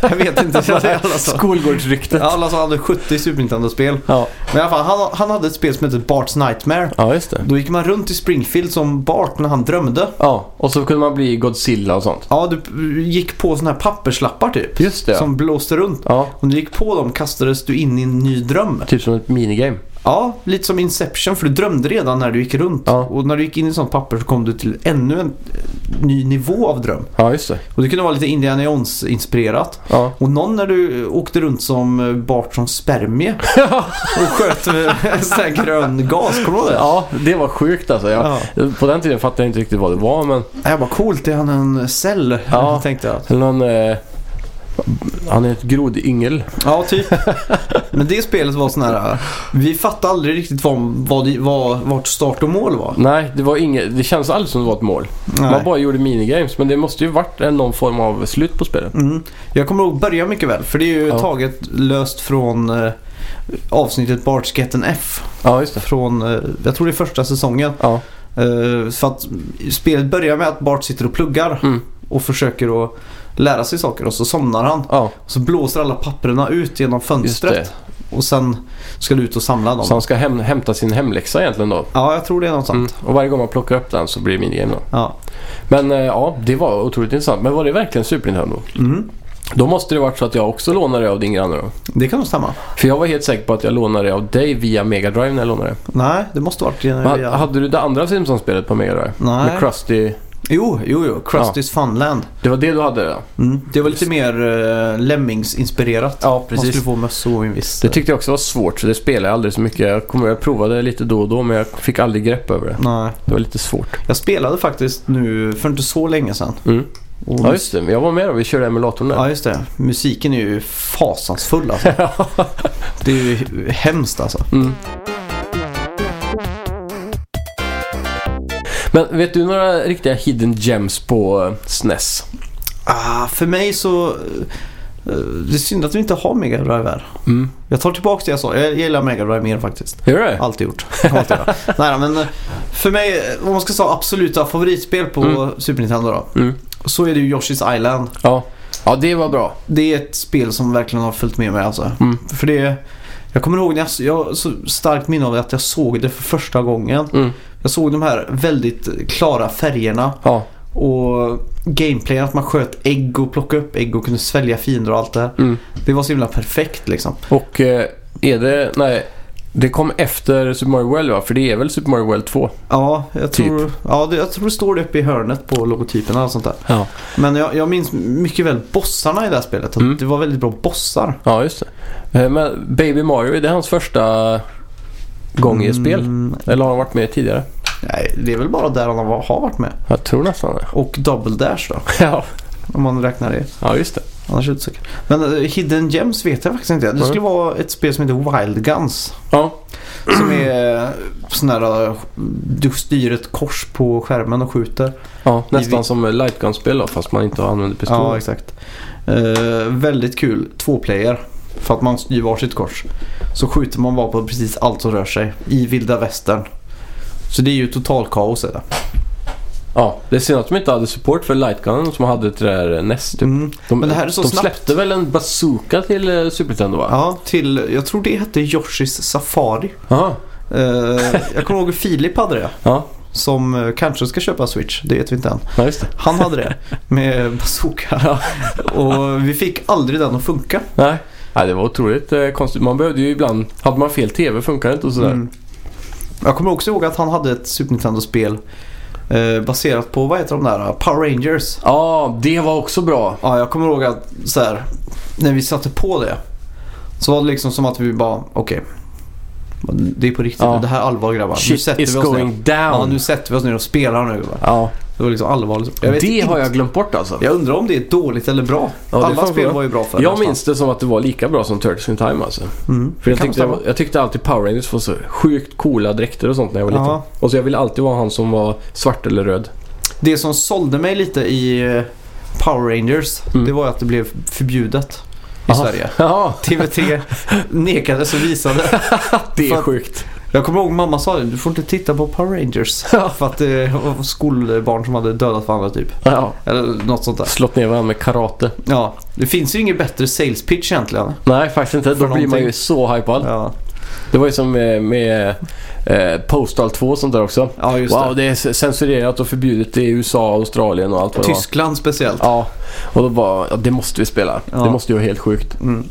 C: jag vet inte. Alla sa,
B: Skolgårdsryktet.
C: Ja, alla sa han hade 70 Super Nintendo-spel.
B: Ja.
C: Men i alla fall, han, han hade ett spel som hette Bart's Nightmare.
B: ja, just det.
C: Då gick man runt i Springfield som Bart när han drömde.
B: Ja, och så kunde man bli Godzilla och sånt.
C: Ja, du gick på sådana här papperslappar typ.
B: Just det.
C: Som blåste runt.
B: Ja,
C: Om du gick på dem kastades du in i en ny dröm.
B: typ som ett minigame.
C: Ja, lite som Inception för du drömde redan när du gick runt.
B: Ja.
C: Och när du gick in i sånt papper så kom du till ännu en eh, ny nivå av dröm.
B: Ja, just det.
C: Och det kunde vara lite Indiana Jones-inspirerat.
B: Ja.
C: Och någon när du eh, åkte runt som eh, Bart som spermie och sköt med sån här grön gas, kommer du ihåg det?
B: Ja, det var sjukt alltså. Jag,
C: Ja.
B: På den tiden fattade jag inte riktigt vad det var, men...
C: Jag bara coolt, är han en cell?
B: Ja.
C: Tänkte jag.
B: Eller någon... Eh, han är ett grodyngel.
C: Ja, typ. Men det spelet var sån här... eh, Vi fattade aldrig riktigt vad, vad, det- vad, vart start och mål var.
B: Nej, det var inget... Det kändes aldrig som det var ett mål. Man bara gjorde minigames, men det måste ju varit en- någon form av slut på spelet.
C: Mm. Jag kommer ihåg början mycket väl, för det är ju
B: Ja.
C: taget löst från eh, avsnittet Bart's Get an F.
B: Ja, just det.
C: Från, eh, jag tror det är första säsongen.
B: Ja.
C: Eh, för att spelet börjar med att Bart sitter och pluggar
B: Mm.
C: och försöker att lära sig saker och så somnar han.
B: Ja,
C: Och så blåser alla papperna ut genom
B: just
C: fönstret
B: det.
C: och sen ska du ut och samla dem.
B: Så han ska häm hämta sin hemläxa egentligen då.
C: Ja, jag tror det är något sånt.
B: Mm. Och varje gång man plockar upp den så blir det minigame då.
C: Ja.
B: Men eh, ja, det var otroligt intressant. Men var det verkligen Super Nintendo?
C: Mm.
B: Då måste det varit så att jag också lånade det av din granne då.
C: Det kan nog stämma.
B: För jag var helt säker på att jag lånade det av dig via Mega Drive när jag lånade det.
C: Nej, det måste varit eh,
B: Men
C: via...
B: Hade du det andra Simpsons-spelet på Mega Drive?
C: Nej.
B: Med Krusty.
C: Jo, jo, jo. Krusty's Funland.
B: Det var det du hade då?
C: Mm. Det var lite mer eh, Lemmings-inspirerat.
B: Ja,
C: Man skulle få mössor och en viss...
B: Det tyckte jag också var svårt så det spelade jag aldrig så mycket. Jag, kommer, jag provade lite då och då men jag fick aldrig grepp över det.
C: Nej.
B: Det var lite svårt.
C: Jag spelade faktiskt nu för inte så länge sedan.
B: Mm.
C: Och
B: Ja just det, jag var med då. Vi körde emulatorn där.
C: ja, just det. Musiken är ju fasansfull alltså. det är ju hemskt alltså.
B: Mm. Men vet du några riktiga hidden gems på eh, SNES?
C: Ah, för mig så... eh, Det är synd att vi inte har Mega Drive här.
B: Mm.
C: Jag tar tillbaka det jag sa. Jag gillar Mega Drive mer faktiskt.
B: Gör det?
C: Alltid gjort. Kommer alltid göra. Nej, men eh, för mig, eh, om man ska säga absoluta favoritspel på
B: Mm.
C: Super Nintendo då.
B: Mm.
C: Så är det ju Yoshi's Island.
B: Ja. ja, det var bra.
C: Det är ett spel som verkligen har följt med mig alltså.
B: Mm.
C: För det, jag kommer ihåg när jag, jag har så starkt minne av att jag såg det för första gången.
B: Mm.
C: Jag såg de här väldigt klara färgerna
B: Ja.
C: och gameplayen att man sköt ägg och plockade upp ägg och kunde svälja fiender och allt det här.
B: Mm.
C: Det var så himla perfekt liksom.
B: Och eh, är det... Nej. Det kom efter Super Mario World va? För det är väl Super Mario World 2?
C: Ja, jag
B: Typ.
C: tror, ja, det, jag tror det står det uppe i hörnet på logotyperna och sånt där.
B: Ja.
C: Men jag, jag minns mycket väl bossarna i det här spelet. Att
B: Mm.
C: Det var väldigt bra bossar.
B: Ja, just det. Eh, Men Baby Mario, är det hans första gång i ett spel?
C: Mm,
B: Eller har han varit med tidigare?
C: nej, det är väl bara där han har har varit med.
B: Jag tror nästan det.
C: Och Double Dash då,
B: Ja,
C: om man räknar det.
B: ja just det.
C: Annars är det säkert. Men eh, Hidden Gems vet jag faktiskt inte. Det skulle vara ett spel som heter Wild Guns.
B: Ja,
C: Som är sån här... eh, Du styr ett kors på skärmen och skjuter.
B: ja nästan
C: vi-
B: som lightgun-spel då, fast man inte använder pistol.
C: Ja, exakt. Eh, väldigt kul. Två player. För att man styr varsitt kors. Så skjuter man bara på precis allt som rör sig. I vilda västern. Så det är ju total kaos är det.
B: Ja, det är synd att de inte hade support för lightgunen som hade till det där NES. Typ.
C: Mm.
B: De,
C: Men det här är så
B: de
C: snabbt.
B: släppte väl en bazooka till eh, Super Nintendo va?
C: Ja, till... Jag tror det hette Yoshis Safari.
B: Aha.
C: Eh, jag kommer ihåg Filip hade det.
B: Ja,
C: Som eh, kanske ska köpa Switch. Det vet vi inte än.
B: ja just det.
C: Han hade det med bazooka. Och vi fick aldrig den att funka.
B: Nej. Nej, det var otroligt eh, konstigt. Man behövde ju ibland... Hade man fel TV funkar det inte och sådär.
C: Mm. Jag kommer också ihåg att han hade ett Super Nintendo-spel eh, baserat på, vad heter de där, eh, Power Rangers.
B: Ja, det var också bra.
C: Ja, jag kommer ihåg att så här, när vi satte på det så var det liksom som att vi bara, okej. det är på riktigt
B: Ja.
C: nu, det här är allvar grabbar. nu
B: Shit
C: sätter
B: is
C: vi oss
B: going
C: ner. Ja,
B: down.
C: nu sätter vi oss ner och spelar nu. Va?
B: Ja,
C: Det var liksom allvarligt. Jag vet
B: det
C: inte.
B: har jag glömt bort alltså.
C: Jag undrar om det är dåligt eller bra.
B: Ja, det får
C: Alla
B: man
C: spel
B: fråga.
C: var ju bra för
B: Jag minns det som att det var lika bra som Turtles in Time alltså.
C: Mm.
B: För jag
C: Kan
B: tyckte,
C: stämma.
B: jag tyckte alltid Power Rangers var så sjukt coola dräkter och sånt när jag var liten.
C: Ja.
B: Och så jag ville alltid vara han som var svart eller röd.
C: Det som sålde mig lite i eh, Power Rangers,
B: Mm.
C: det var ju att det blev förbjudet i
B: Aha.
C: Sverige.
B: Ja,
C: TV3 nekades och visade.
B: det
C: För
B: är
C: att-
B: sjukt.
C: Jag kommer ihåg mamma sa det, du får inte titta på Power Rangers. För att det var skolbarn som hade dödat varandra typ.
B: Ja.
C: Eller något sånt där.
B: Slått ner varandra med karate.
C: Ja, det finns ju ingen bättre sales pitch egentligen.
B: Nej, faktiskt inte. Då
C: För
B: blir man
C: någonting.
B: ju så hypad.
C: Ja,
B: Det var ju som med, med eh, Postal 2 och sånt där också.
C: ja just
B: wow, det. är censurerat och förbjudet i USA, Australien och allt
C: det.
B: vad det var.
C: Tyskland speciellt.
B: Ja, och då bara, ja, det måste vi spela.
C: Ja.
B: Det måste ju vara helt sjukt.
C: Mm.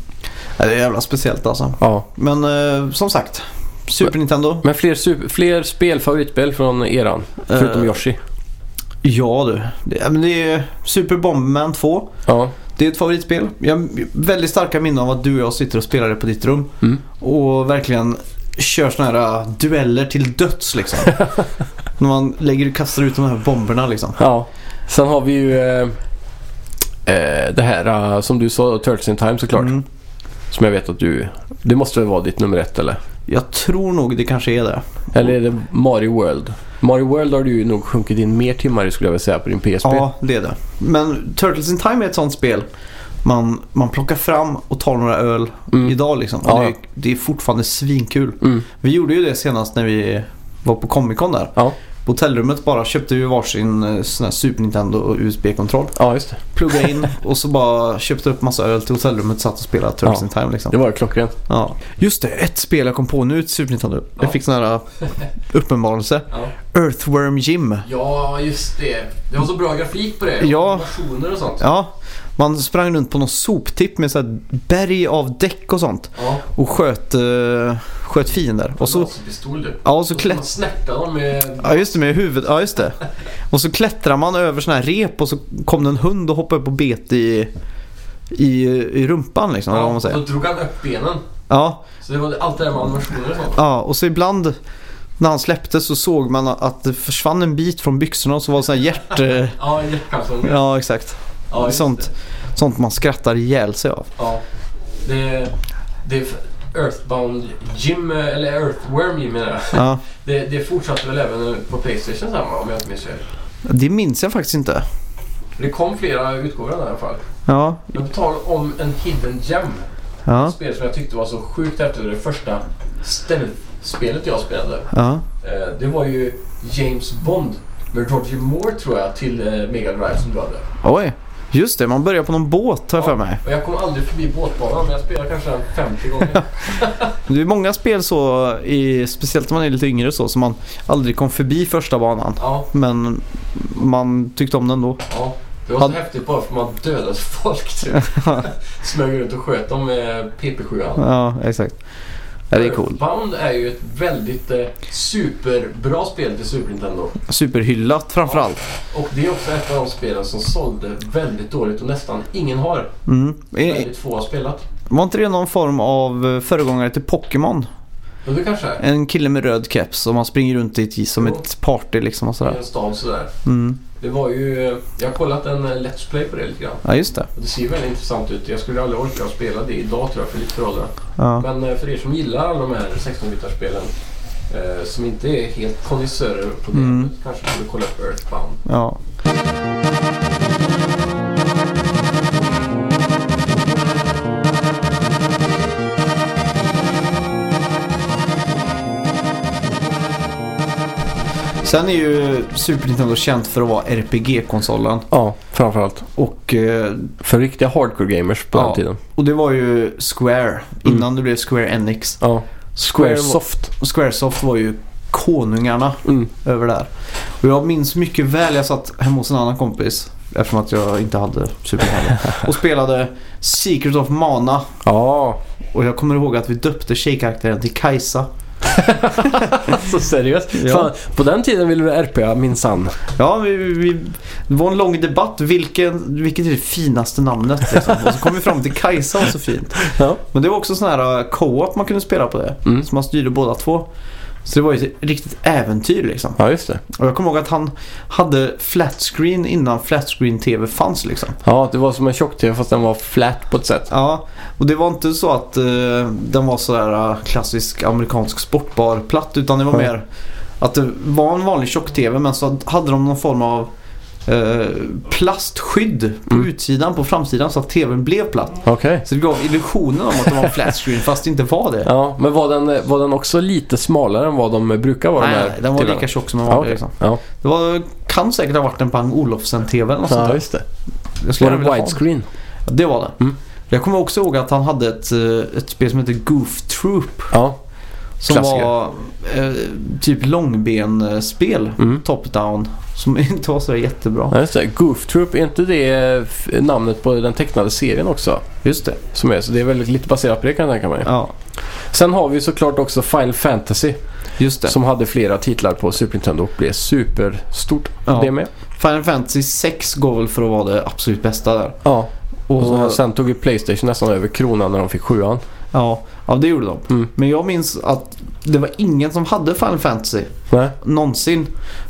C: Ja, det är jävla speciellt alltså.
B: Ja.
C: Men eh, som sagt, Super Nintendo.
B: Men fler, super, fler spel, favoritspel från eran? Förutom
C: Eh.
B: Yoshi.
C: Ja du, det, ja, men det är Super Bomberman 2.
B: Ja.
C: Det är ett favoritspel. Jag har väldigt starka minnen av att du och jag sitter och spelar det på ditt rum.
B: Mm.
C: Och verkligen kör såna här äh, dueller till döds liksom. När man lägger, kastar ut de här bomberna liksom.
B: Ja. Sen har vi ju eh, eh, det här eh, som du sa, Turtles in Time såklart.
C: Mm.
B: Som jag vet att du... Det måste väl vara ditt nummer ett eller?
C: Jag tror nog det kanske är det.
B: Eller är det Mario World? Mario World har du ju nog sjunkit in mer timmar i skulle jag vilja säga på din PSP.
C: Ja, det är det. Men Turtles in Time är ett sånt spel. Man, man plockar fram och tar några öl
B: Mm.
C: idag liksom. Och
B: Ja.
C: det, är, det är fortfarande svinkul.
B: Mm.
C: Vi gjorde ju det senast när vi var på Comic Con där.
B: Ja.
C: På hotellrummet bara köpte vi varsin eh, sån här Super Nintendo och USB-kontroll.
B: ja, just det.
C: plugga in och så bara köpte upp massa öl till hotellrummet satt och spelade Turtles
B: Ja.
C: in Time liksom.
B: Det var klockrent.
C: Ja. Just det, ett spel jag kom på nu till Super Nintendo. Jag fick sån här eh, uppenbarelse.
B: Ja.
C: Earthworm Jim.
B: ja, just det. Det var så bra grafik på det.
C: Ja.
B: Animationer och sånt.
C: Ja, man sprang runt på någon soptipp med så här berg av däck och sånt
B: Ja.
C: och sköt, eh, sköt fiender. Och så,
B: Pistol, du.
C: ja, och så klätt...
B: snärta dem med...
C: Ja just det, med huvudet. Ja just det. Och så klättrar man över sån här rep och så kom det en hund och hoppade upp och bet i, i, i rumpan liksom. eller vad man säger.
B: drog han upp benen.
C: Ja,
B: Så det var allt det där med animationer och sånt.
C: Ja, och så ibland när han släpptes så såg man att det försvann en bit från byxorna och så var det sådana hjärt...
B: Ja, hjärtkalsonger.
C: Ja, exakt.
B: Ja, just
C: sånt, sånt man skrattar ihjäl sig av.
B: Ja. Det, det är Earthbound Jim, eller Earthworm Jim menar jag.
C: Ja,
B: Det, det fortsatte väl även på Playstation samma om jag inte minns fel.
C: det minns jag faktiskt inte.
B: Det kom flera utgåvor av den i alla fall.
C: Ja,
B: Men på tal om en hidden gem.
C: ja,
B: Ett spel som jag tyckte var så sjukt efter det första stealth-spelet jag spelade.
C: ja.
B: Eh, Det var ju James Bond med Roger Moore tror jag till eh, Mega Drive som du hade.
C: Oj. Just det, man börjar på någon båt har jag för mig.
B: Och jag kom aldrig förbi båtbanan men jag spelade kanske den 50 gånger.
C: Det är många spel så, i, speciellt när man är lite yngre så, som man aldrig kom förbi första banan.
B: Ja,
C: Men man tyckte om den då.
B: ja. Det var så
C: Han-
B: häftigt bara för man dödade folk typ. Smög runt och sköt dem med PP7.
C: Ja, exakt. Ja, det är cool.
B: Bound är ju ett väldigt eh, superbra spel till Super Nintendo.
C: Superhyllat framförallt.
B: Och det är också ett av de spelen som sålde väldigt dåligt och nästan ingen har.
C: Mm. I-
B: Väldigt få har spelat.
C: Var inte det någon form av eh, föregångare till Pokémon?
B: Men det kanske är
C: En kille med röd keps och man springer runt i ett, som
B: Jo.
C: ett party liksom och
B: i
C: sådär.
B: en stad sådär.
C: Mm.
B: Det var ju... eh, Jag har kollat en eh, Let's Play på det lite grann.
C: Ja, just det.
B: Och det ser ju väldigt intressant ut. Jag skulle aldrig orka spela det idag tror jag för lite för åldrar.
C: Ja.
B: Men eh, för er som gillar alla de här 16-bitarspelen eh, som inte är helt kondisörer på det
C: Mm.
B: ämnet, kanske skulle kolla upp Earthbound.
C: Ja. Sen är ju Super Nintendo känt för att vara RPG-konsolen.
B: Ja, framförallt.
C: Och, eh,
B: För riktiga hardcore gamers på
C: den tiden. och det var ju Square innan det blev Square Enix.
B: Ja.
C: Square Soft. Och Squaresoft var ju konungarna över där. Och jag minns mycket väl, jag satt hemma hos en annan kompis eftersom att jag inte hade Super Nintendo och spelade Secret of Mana.
B: Ja,
C: Och jag kommer ihåg att vi döpte tjejkaraktären till Kajsa.
B: alltså seriöst.
C: Ja.
B: på den tiden ville du RPA minsann.
C: Ja, vi, vi, vi, det var en lång debatt. Vilken, vilket är det finaste namnet? Liksom. Och så kom vi fram till Kajsa och så fint.
B: Ja.
C: Men det var också sån här eh, co-op man kunde spela på det.
B: Mm.
C: Så man styrde båda två. Så det var ju ett riktigt äventyr liksom.
B: Ja, just det.
C: Och jag kommer ihåg att han hade flat screen innan flat screen tv fanns liksom.
B: Ja, det var som en tjock-tv fast den var flat på ett sätt.
C: Ja, och det var inte så att eh, den var sådär eh, klassisk amerikansk sportbar-platt utan det var
B: Ja.
C: mer att det var en vanlig tjock-tv men så hade de någon form av eh, plastskydd på
B: Mm.
C: utsidan, på framsidan så att tvn blev platt.
B: Okej.
C: Så det gav illusionen om att det var en flat screen fast det inte var det.
B: Ja, men var den, var den också lite smalare än vad de brukar vara?
C: nej,
B: de här
C: nej, den var
B: TV:arna?
C: lika tjock som en
B: Ja,
C: vanlig.
B: okej.
C: Liksom.
B: ja.
C: Det var, kan säkert ha varit en Bang Olufsen-tv eller något sånt
B: ja,
C: där.
B: just det.
C: Jag skulle
B: Var det
C: vilja ha en.
B: widescreen?
C: Det var det.
B: Mm.
C: Jag kommer också ihåg att han hade ett, eh, ett spel som hette Goof Troop.
B: Ja.
C: Som
B: Klassiker.
C: var eh, typ långben-spel.
B: Mm.
C: Top-down. Som inte var så där jättebra.
B: ja, just det. Goof Troop, är inte det eh, f- namnet på den tecknade serien också?
C: Just det.
B: Som är, så det är väl lite baserat på det kan jag tänka mig.
C: Ja,
B: Sen har vi såklart också Final Fantasy
C: just det.
B: som hade flera titlar på Super Nintendo och blev superstort.
C: Ja.
B: Det med.
C: Final Fantasy 6 går väl för att vara det absolut bästa där.
B: Ja. Och
C: Och,
B: sen tog ju Playstation nästan över kronan när de fick sjuan.
C: ja, ja, det gjorde de.
B: Mm.
C: Men jag minns att det var ingen som hade Final Fantasy
B: Nej.
C: någonsin.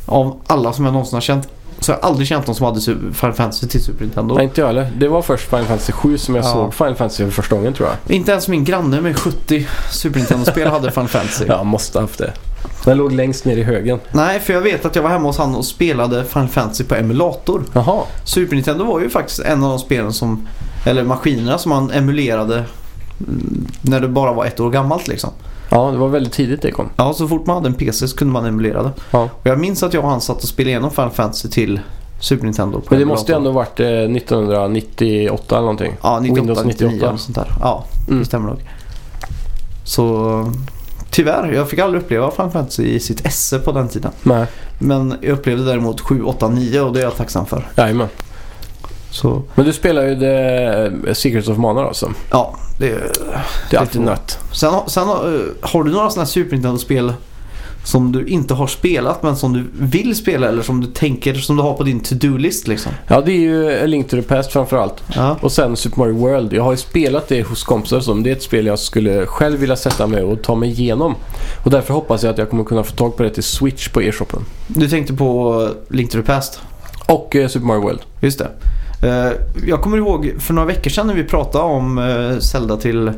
C: Av alla som jag någonsin har känt. Så jag har aldrig känt någon som hade Super- Final Fantasy till Super Nintendo.
B: Nej, inte jag heller. Det var först Final Fantasy 7 som jag
C: Ja.
B: såg Final Fantasy för första gången tror jag.
C: Inte ens min granne med 70 Super Nintendo-spel hade Final Fantasy.
B: Ja, måste ha haft det. Den låg längst ner i högen.
C: Nej, för jag vet att jag var hemma hos han och spelade Final Fantasy på emulator.
B: Jaha.
C: Super Nintendo var ju faktiskt en av de spelen som, eller maskinerna som man emulerade mm, när det bara var ett år gammalt liksom.
B: Ja, det var väldigt tidigt det kom.
C: Ja, så fort man hade en PC så kunde man emulera det.
B: Ja.
C: Och jag minns att jag och han satt och spelade igenom Final Fantasy till Super Nintendo på
B: Men det
C: emulator.
B: måste ju ändå varit eh, 1998 eller någonting.
C: Ja, 98,
B: Windows
C: 99
B: 98.
C: och sånt där. Ja,
B: Mm.
C: det stämmer nog. Så tyvärr, jag fick aldrig uppleva Final Fantasy i sitt esse på den tiden.
B: Nej,
C: Men jag upplevde däremot 7, 8, 9 och det är jag tacksam för.
B: jajamän.
C: Så
B: Men du spelar ju The eh, Secrets of Mana alltså.
C: ja, det
B: Det är
C: Det
B: alltid
C: får-
B: nött.
C: Sen, sen eh, har du några sådana här Super Nintendo-spel som du inte har spelat men som du vill spela eller som du tänker som du har på din to-do-list liksom?
B: Ja, det är ju A Link to the Past framförallt.
C: Ja.
B: Och sen Super Mario World. Jag har ju spelat det hos kompisar som det är ett spel jag skulle själv vilja sätta mig och ta mig igenom. Och därför hoppas jag att jag kommer kunna få tag på det till Switch på e-shoppen.
C: Du tänkte på eh, Link to the Past?
B: Och eh, Super Mario World.
C: Just det. Eh, jag kommer ihåg för några veckor sedan när vi pratade om eh, Zelda till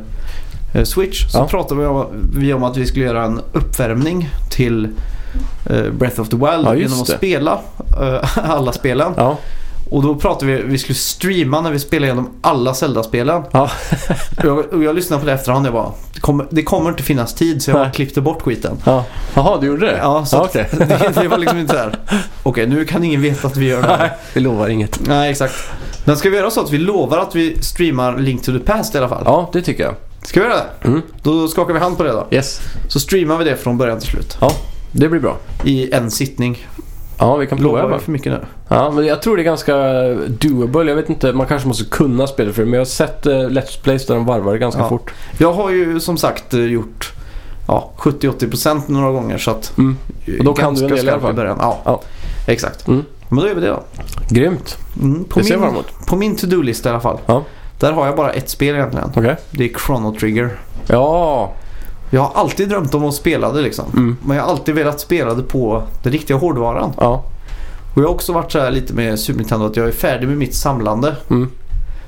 C: eh, Switch så
B: Ja.
C: pratade vi om, vi om att vi skulle göra en uppvärmning till eh, Breath of the Wild
B: Ja, just
C: genom att
B: det.
C: spela eh, alla spelen.
B: Ja,
C: Och då pratade vi, vi skulle streama när vi spelade igenom alla Zelda-spelen.
B: Ja.
C: och, jag, och jag lyssnade på det efterhand och jag bara, det kommer, det kommer inte finnas tid så jag bara
B: Nej.
C: klippte bort skiten.
B: Ja. Jaha, du gjorde det?
C: Ja, så
B: Ja,
C: att-
B: okej.
C: det, det var liksom inte så här. Okej, nu kan ingen veta att vi gör det här.
B: Vi lovar inget.
C: Nej, exakt. Men ska vi göra så att vi lovar att vi streamar Link to the Past i alla fall?
B: Ja, det tycker jag.
C: Ska vi göra det?
B: Mm.
C: Då skakar vi hand på det då.
B: Yes.
C: Så streamar vi det från början till slut.
B: Ja, det blir bra.
C: I en sittning.
B: Ja, vi kan prova.
C: Lovar vi
B: va?
C: för mycket nu?
B: Ja, men jag tror det är ganska doable. Jag vet inte, man kanske måste kunna spela för det. Men jag har sett eh, Let's Plays där de varvar det ganska
C: Ja.
B: fort.
C: Jag har ju som sagt eh, gjort ja, 70-80% några gånger så att...
B: Mm. Och då kan du en
C: Eh, ganska
B: del i alla
C: skarp
B: fall.
C: början. Ja,
B: Ja.
C: exakt.
B: Mm.
C: Men då gör vi det då.
B: Grymt.
C: Mm, på,
B: det ser jag fram
C: min,
B: emot.
C: på min to-do-lista i alla fall.
B: Ja.
C: Där har jag bara ett spel egentligen.
B: Okej.
C: Det är Chrono Trigger.
B: Ja.
C: Jag har alltid drömt om att spela det liksom.
B: Mm.
C: Men jag har alltid velat spela det på den riktiga hårdvaran.
B: Ja.
C: Och jag har också varit så här lite med Super Nintendo att jag är färdig med mitt samlande.
B: Mm.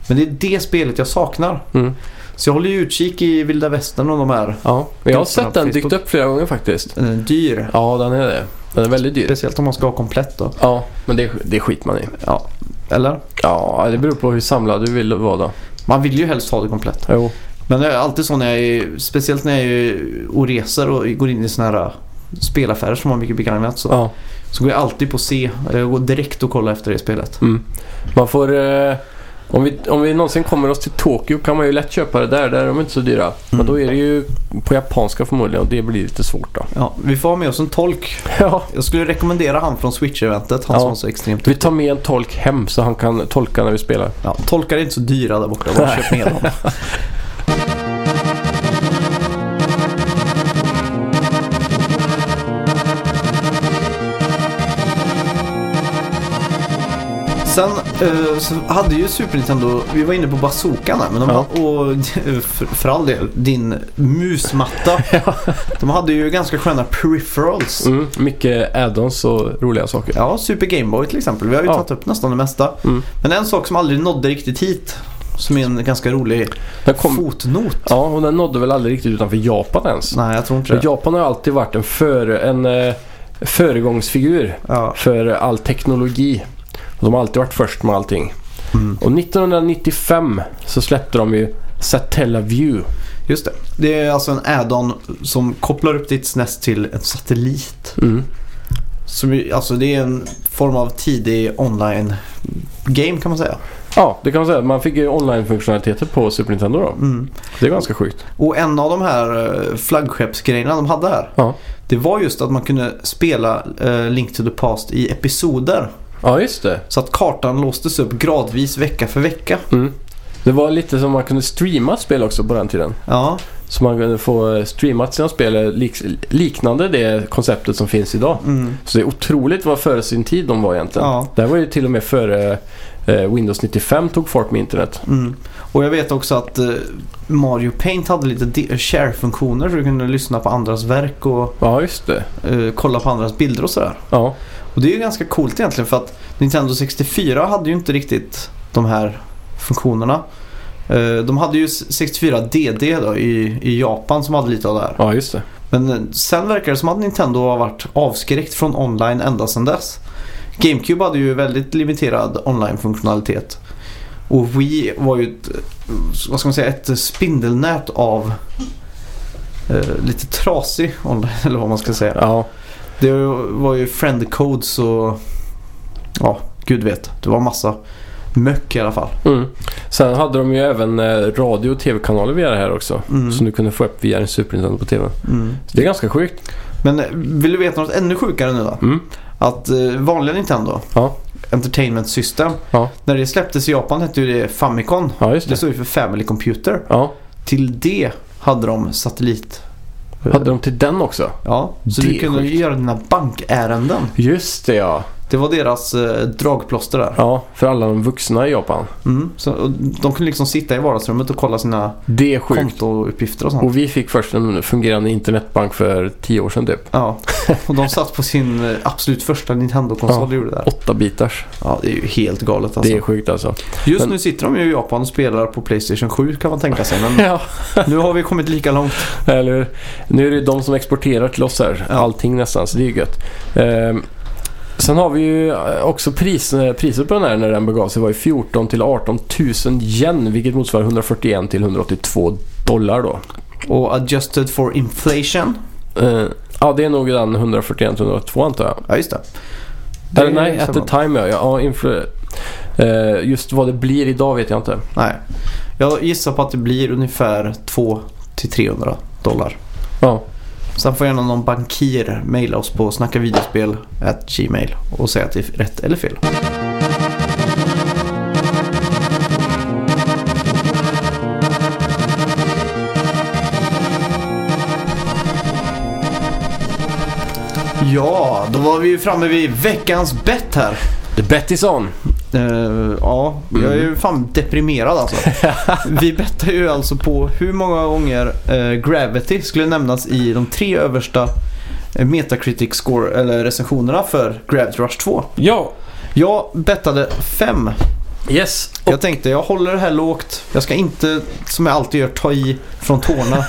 C: Men det är det spelet jag saknar.
B: Mm.
C: Så jag håller ju utkik i vilda västern och de här.
B: ja. Jag har
C: Grupperna
B: sett
C: på
B: den dykt
C: Facebook.
B: upp flera gånger faktiskt.
C: Den är dyr.
B: Ja, den är det. Den är väldigt dyr.
C: Speciellt om man ska ha komplett då.
B: Ja, men det, det skiter man i.
C: Ja. Eller?
B: Ja, det beror på hur samlad du vill vara då.
C: Man vill ju helst ha det komplett.
B: Jo.
C: Men jag är alltid så när jag är, speciellt när jag är och reser och går in i sådana här äh, spelaffärer som har mycket begagnat så,
B: Ja.
C: så går jag alltid på C. Jag går direkt och kollar efter det spelet.
B: Mm. Man får... Eh, om, vi, om vi någonsin kommer oss till Tokyo kan man ju lätt köpa det där. Där är de inte så dyra. Men då är det ju på japanska förmodligen och det blir lite svårt då.
C: Ja, vi får ha med oss en tolk.
B: Ja.
C: Jag skulle rekommendera han från Switch-eventet, han
B: Ja.
C: som var så extremt
B: Vi tar med en tolk hem så han kan tolka när vi spelar.
C: Ja, tolkar är inte så dyra där borta. Bara köp med dem. Sen eh, så hade ju Super Nintendo, vi var inne på bazookan där, men de,
B: Ja.
C: och för, för all del din musmatta. De hade ju ganska sköna peripherals.
B: Mm. Mycket add-ons och roliga saker.
C: Ja, Super Game Boy till exempel. Vi har ju
B: Ja.
C: tagit upp nästan det mesta.
B: Mm.
C: Men en sak som aldrig nådde riktigt hit, som är en ganska rolig
B: Den kom,
C: fotnot.
B: ja, och den nådde väl aldrig riktigt utanför Japan ens.
C: Nej, jag tror inte
B: För
C: det.
B: Japan har alltid varit en, före, en eh, föregångsfigur
C: Ja.
B: för all teknologi. Och de har alltid varit först med allting.
C: Mm.
B: Och 1995 så släppte de ju Satellaview.
C: Just det. Det är alltså en add-on som kopplar upp ditt SNES till en satellit.
B: Mm.
C: Som, ju- alltså det är en form av tidig online-game kan man säga.
B: Ja, det kan man säga. Man fick ju online-funktionaliteter på Super Nintendo då.
C: Mm.
B: Det är ganska sjukt.
C: Och en av de här eh, flaggskeppsgrejerna de hade här.
B: Ja,
C: Det var just att man kunde spela eh, Link to the Past i episoder.
B: ja just det.
C: Så att kartan låstes upp gradvis vecka för vecka.
B: Mm. Det var lite som man kunde streama spel också på den tiden.
C: Ja,
B: Så man kunde få eh, streamat sina spel eh, lik- liknande det konceptet som finns idag.
C: mm.
B: Så det är otroligt vad före sin tid de var egentligen.
C: Ja.
B: Det här var ju till och med före eh, Windows 95 tog fart med internet.
C: Mm. Och jag vet också att eh, Mario Paint hade lite di- share-funktioner så du kunde lyssna på andras verk och
B: Ja, just det.
C: eh, kolla på andras bilder och sådär.
B: Ja,
C: Och det är ju ganska coolt egentligen för att Nintendo 64 hade ju inte riktigt de här funktionerna. Eh, de hade ju 64DD då i, i Japan som hade lite av det här.
B: ja just det.
C: Men eh, sen verkar det som att Nintendo har varit avskräckt från online ända sedan dess. GameCube hade ju väldigt limiterad online-funktionalitet. Och Wii var ju ett, eh, vad ska man säga, ett spindelnät av eh, lite trasig online, eller vad man ska säga.
B: Ja,
C: Det var ju friend codes och ja, gud vet. Det var massa möck i alla fall.
B: mm. Sen hade de ju även eh, radio och tv-kanaler via det här också.
C: Mm.
B: Som du kunde få upp via en Super Nintendo på tvn.
C: Mm.
B: Så det är ganska sjukt.
C: Men eh, vill du veta något ännu sjukare nu då?
B: Mm.
C: Att eh, vanliga Nintendo,
B: Ja.
C: Entertainment System,
B: Ja.
C: när det släpptes i Japan hette ju det Famicom.
B: Ja, just
C: Det
B: det.
C: stod ju för Family Computer.
B: Ja.
C: Till det hade de satellit.
B: Hade de till den också?
C: Ja, så
B: Det
C: du
B: är
C: kunde
B: sjukt.
C: göra dina bankärenden.
B: Just det ja.
C: Det var deras eh, dragplåster där.
B: Ja, för alla de vuxna i Japan.
C: Mm. Så, och de kunde liksom sitta i vardagsrummet och kolla sina
B: Det är sjukt.
C: kontouppgifter och sånt.
B: Och vi fick först en fungerande internetbank för tio år sedan typ.
C: Ja, och de satt på sin eh, absolut första Nintendo-konsol och gjorde det där.
B: Åtta bitars.
C: Ja, det är ju helt galet alltså.
B: Det är sjukt alltså.
C: Just
B: men-
C: nu sitter de ju i Japan och spelar på Playstation 7 kan man tänka sig. Men
B: Ja.
C: nu har vi kommit lika långt.
B: Eller hur? Nu är det ju de som exporterar till oss här. Allting nästan, så det är ju gött. Ehm, Sen har vi ju eh, också pris, eh, priset på den här när den begav sig var ju 14 till 18 000 yen vilket motsvarar 141 till 182 dollar då.
C: Och adjusted for inflation.
B: Eh, ja, det är nog den 141 till 182 antar jag.
C: Ja, just det.
B: Eller nej,
C: är
B: at the
C: samma.
B: time ja. ja influ- eh, just vad det blir idag vet jag inte.
C: Nej. Jag gissar på att det blir ungefär 200-300 dollar.
B: Ja,
C: Sen får gärna någon bankir mejla oss på snackavideospel gmail och säga att det är rätt eller fel. Ja, då var vi ju framme vid veckans bett här.
B: the bet is on.
C: Eh, ja, jag är ju fan deprimerad alltså. Vi bettade ju alltså på hur många gånger eh, Gravity skulle nämnas i de tre översta eh, Metacritic score eller recensionerna för Gravity Rush 2.
B: Ja.
C: Jag bettade fem.
B: Yes. Och,
C: Jag tänkte jag håller det här lågt. Jag ska inte, som jag alltid gör, ta i från tårna.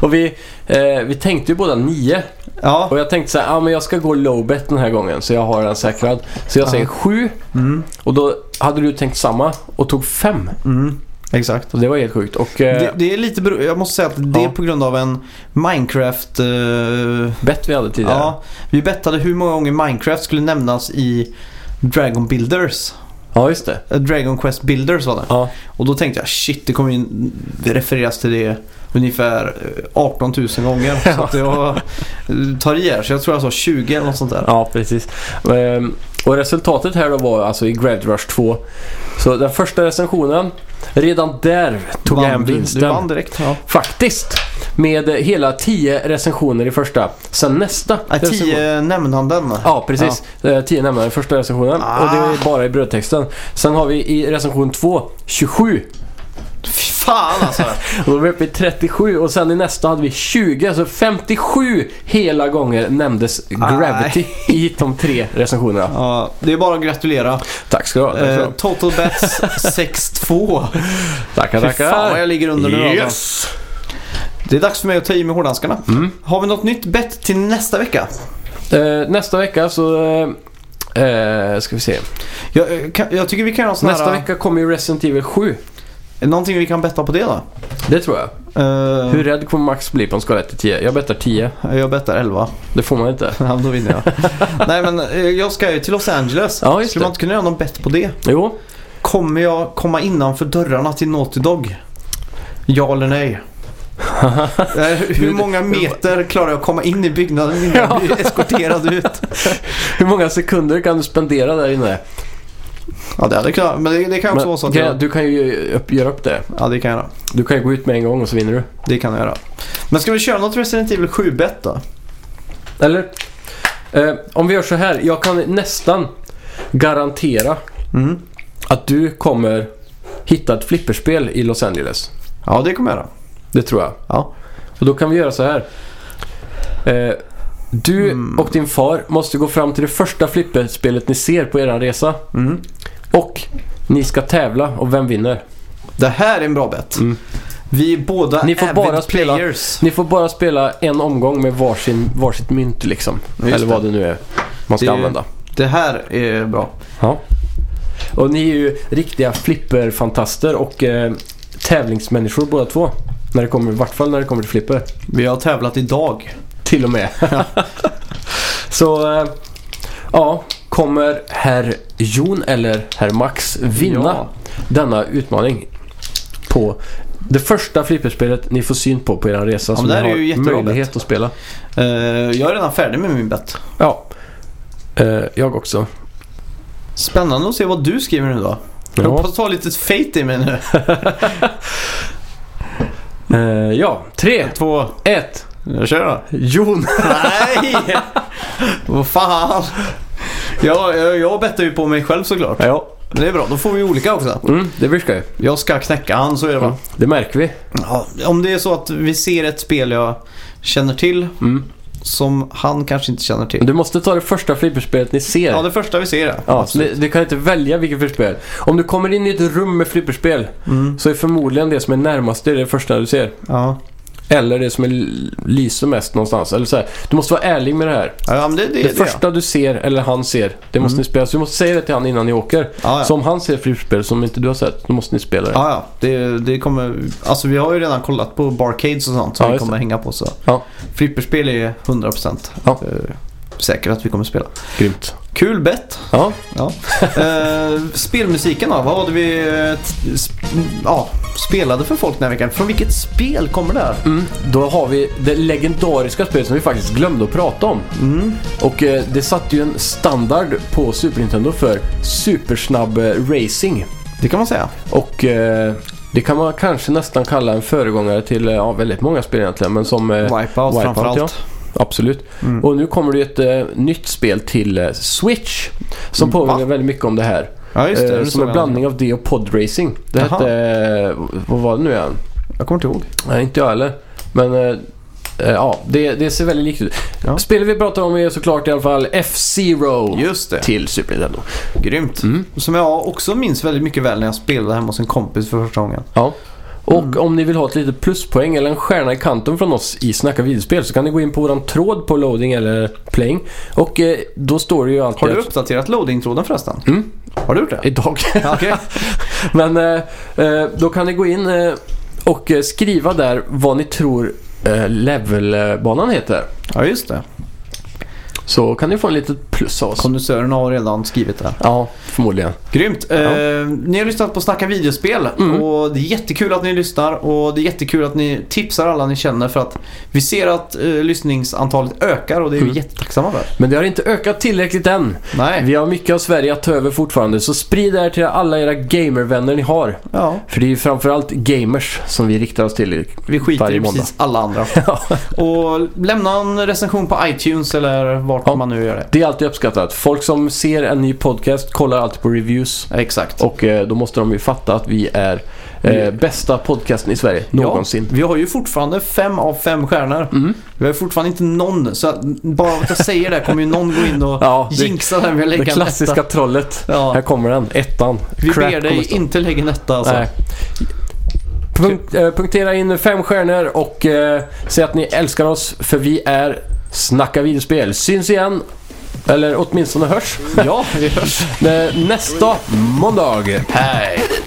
B: och vi, eh, vi tänkte ju båda nio.
C: Ja,
B: Och jag tänkte så här, ah, men jag ska gå low bet den här gången så jag har den säkrad. Så jag säger sju.
C: Mm.
B: Och då hade du tänkt samma och tog fem.
C: mm, exakt.
B: Så det var helt sjukt. Och eh,
C: Det, det är lite bero- jag måste säga att det
B: Ja.
C: är på grund av en Minecraft... eh,
B: bet vi hade tidigare.
C: Ja,
B: Ja,
C: vi bettade hur många gånger Minecraft skulle nämnas i Dragon Builders.
B: just det.
C: Eh, Dragon Quest Builders var det.
B: Ja.
C: Och då tänkte jag shit, det kommer ju det refereras till det ungefär eh, 18 000 gånger. Så att jag eh, tar i här. Så jag tror jag sa 20 eller något sånt där.
B: Ja, precis. Ehm, Och resultatet här då var alltså i Gravity Rush 2. Så den första recensionen, redan där tog jag hem
C: Vann du- Du vann
B: vinsten.
C: direkt. Ja.
B: Faktiskt! Med eh, hela 10 recensioner i första. Sen nästa
C: Nej,
B: recension-
C: 10 nämnanden.
B: Ja, precis. Eh, 10 nämnare i första recensionen.
C: Ah.
B: Och det är bara i brödtexten. Sen har vi i recension 2, 27.
C: Fy fan alltså.
B: Och då var vi uppe i 37 och sen i nästa hade vi 20, alltså 57 hela gånger nämndes Gravity i de tre recensionerna.
C: Ja, det är bara att gratulera.
B: Tack ska du ha. Tack ska du
C: Eh,
B: ha.
C: total bets 6-2.
B: Tackar,
C: Fy fan vad jag ligger under nu alltså.
B: Yes!
C: Det är dags för mig att ta i med hårdhandskarna.
B: Mm.
C: Har vi något nytt bett till nästa vecka?
B: Eh, nästa vecka så... Eh, eh, ska vi se.
C: Jag, eh, kan, jag tycker vi kan göra en sån
B: Nästa
C: här, eh,
B: vecka kommer ju Resident Evil 7.
C: Någonting vi kan betta på det då?
B: Det tror jag.
C: Eh,
B: Hur rädd kommer Max bli på en skala 1-10? Jag bettar 10.
C: Jag bettar 11.
B: Det får man inte.
C: Ja, då vinner jag. Nej men eh, jag ska ju till Los Angeles.
B: Ja, just
C: Skulle
B: det.
C: man inte kunna göra någon bett på det?
B: Jo.
C: Kommer jag komma innanför dörrarna till Naughty Dog? Ja eller nej? Eh, Hur många meter klarar jag att komma in i byggnaden innan jag blir eskorterad ut?
B: Hur många sekunder kan du spendera där inne?
C: Ja det hade klarat, men det, det kan också vara så att
B: kan-
C: jag,
B: Du kan ju upp, göra upp det.
C: Ja det kan jag göra.
B: Du kan ju gå ut med en gång och så vinner du.
C: Det kan jag göra. Men ska vi köra något Resident Evil 7-bett då?
B: Eller? Eh, om vi gör så här. Jag kan nästan garantera
C: Mm.
B: att du kommer hitta ett flipperspel i Los Angeles.
C: Ja det kommer jag göra.
B: Det tror jag.
C: Ja.
B: Och då kan vi göra så här. Eh, du
C: Mm.
B: och din far måste gå fram till det första flipperspelet ni ser på er resa.
C: Mm.
B: Och ni ska tävla och vem vinner?
C: Det här är en bra bet.
B: Mm.
C: Vi är båda
B: Ni får
C: avid
B: bara spela-
C: players.
B: Ni får bara spela en omgång med varsin, varsitt mynt liksom.
C: Just
B: Eller vad
C: det.
B: det nu är man ska
C: Det-
B: använda.
C: Det här är bra.
B: Ja. Och ni är ju riktiga flipperfantaster och eh, tävlingsmänniskor båda två. När det kommer, I vart fall när det kommer till flipper.
C: Vi har tävlat idag.
B: Till och med. så eh, ja, kommer herr Jon eller herr Max vinna
C: Ja.
B: denna utmaning på det första flipperspelet ni får syn på på er resa som
C: men det
B: ni
C: här är
B: har
C: ju jättebra
B: möjlighet att spela.
C: Eh, jag är redan färdig med min bet.
B: Ja, eh, jag också.
C: Spännande att se vad du skriver nu då. Jag
B: Ja.
C: hoppas du har lite fate i mig nu.
B: Eh, ja, tre,
C: Två.
B: ett,
C: Jag kör då.
B: Jon.
C: Nej! vad fan. Ja, jag, jag bettar ju på mig själv såklart.
B: ja.
C: Men det är bra, då får vi olika också.
B: Mm, det blir skoj.
C: Jag ska knäcka han, så är det va?
B: Det märker vi.
C: Ja, om det är så att vi ser ett spel jag känner till
B: Mm.
C: som han kanske inte känner till.
B: Du måste ta det första flipperspelet ni ser.
C: Ja, det första vi ser ja.
B: Ja, du, du kan inte välja vilket flipperspel. Om du kommer in i ett rum med flipperspel
C: Mm.
B: så är förmodligen det som är närmast det, det första du ser.
C: Ja.
B: Eller det som är, lyser mest någonstans. Eller så här, du måste vara ärlig med det här.
C: Ja, men det, det,
B: Det,
C: är det, Mm.
B: första du ser, eller han ser, det måste ni spela. Så du måste säga det till han innan ni åker.
C: Ja, ja.
B: Så om han ser frispel som inte du har sett, då måste ni spela det.
C: Ja, ja. Det, det kommer... Alltså vi har ju redan kollat på barcades och sånt som
B: Ja,
C: vi
B: just
C: kommer hänga på. Så.
B: Ja.
C: Flipperspel är 100%
B: Ja.
C: eh, säkert att vi kommer spela.
B: Grymt.
C: Kul bett!
B: Ja.
C: Ja. Eh, spelmusiken då? Vad hade vi eh, t- sp- ja, spelade för folk den här veckan? Från vilket spel kommer det här?
B: Mm. Då har vi det legendariska spelet som vi faktiskt glömde att prata om.
C: Mm.
B: Och eh, det satte ju en standard på Super Nintendo för supersnabb eh, racing.
C: Det kan man säga.
B: Och eh, det kan man kanske nästan kalla en föregångare till eh, ja, väldigt många spel egentligen. Men som, eh,
C: Wipeout,
B: Wipeout,
C: framförallt. Mm.
B: ja. Absolut. Och nu kommer det ju ett eh, nytt spel till eh, Switch. Som
C: Mm. Va?
B: påminner väldigt mycket om det här.
C: Ja, just det.
B: Eh,
C: det
B: som
C: såg
B: en
C: jag.
B: blandning av det och podracing. Det
C: Jaha.
B: hette... Eh, vad var det nu igen?
C: Jag kommer inte ihåg.
B: Nej, inte jag heller. Men eh, eh, ja, det, det ser väldigt likt ut.
C: Ja.
B: Spelet vi pratar om är såklart i alla fall F-Zero
C: Just det.
B: till Super Nintendo.
C: Grymt. Som jag också minns väldigt mycket väl när jag spelade hemma hos en kompis för första gången.
B: Ja. Och
C: Mm.
B: om ni vill ha ett litet pluspoäng eller en stjärna i kanten från oss i Snacka videospel så kan ni gå in på våran tråd på loading eller playing. Och eh, då står det ju alltid...
C: Har du uppdaterat loading-tråden förresten?
B: Mm.
C: Har du gjort det?
B: Idag.
C: Ja, Okej.
B: Men eh, eh, då kan ni gå in eh, och eh, skriva där vad ni tror eh, levelbanan heter.
C: Ja, just det.
B: Så kan ni få en litet plus av oss.
C: Kondensören har redan skrivit det. här.
B: Ja, förmodligen.
C: Grymt. Eh, ni har lyssnat på Snacka videospel och det är jättekul att ni lyssnar och det är jättekul att ni tipsar alla ni känner för att vi ser att eh, lyssningsantalet ökar och det är vi
B: Mm.
C: jättetacksamma för.
B: Men det har inte ökat tillräckligt än.
C: Nej.
B: Vi har mycket av Sverige att ta över fortfarande, så sprid det här till alla era gamervänner ni har.
C: Ja,
B: För det är ju framförallt gamers som vi riktar oss till.
C: vi skiter
B: Varje
C: i precis alla andra. och lämna en recension på iTunes eller vart
B: Ja.
C: man nu gör det.
B: Det är alltid uppskattat. Folk som ser en ny podcast kollar alltid på reviews.
C: Exakt.
B: Och eh, då måste de ju fatta att vi är eh, bästa podcasten i Sverige någonsin.
C: Ja, vi har ju fortfarande fem av fem stjärnor.
B: Mm.
C: Vi har ju fortfarande inte någon, så att bara av att jag säger det kommer ju någon gå in och
B: Ja, det-
C: jinxa den med att
B: Det
C: lägga en
B: klassiska
C: etta.
B: trollet. Här
C: Ja,
B: kommer den, ettan.
C: vi
B: Crap
C: ber
B: kommer
C: dig
B: stå.
C: inte lägga en etta alltså.
B: Nej. Punkt, eh, punktera in fem stjärnor och eh, säg att ni älskar oss för vi är Snacka videospel. Syns igen, eller åtminstone hörs,
C: Ja, vi hörs.
B: eh, nästa måndag. Hej!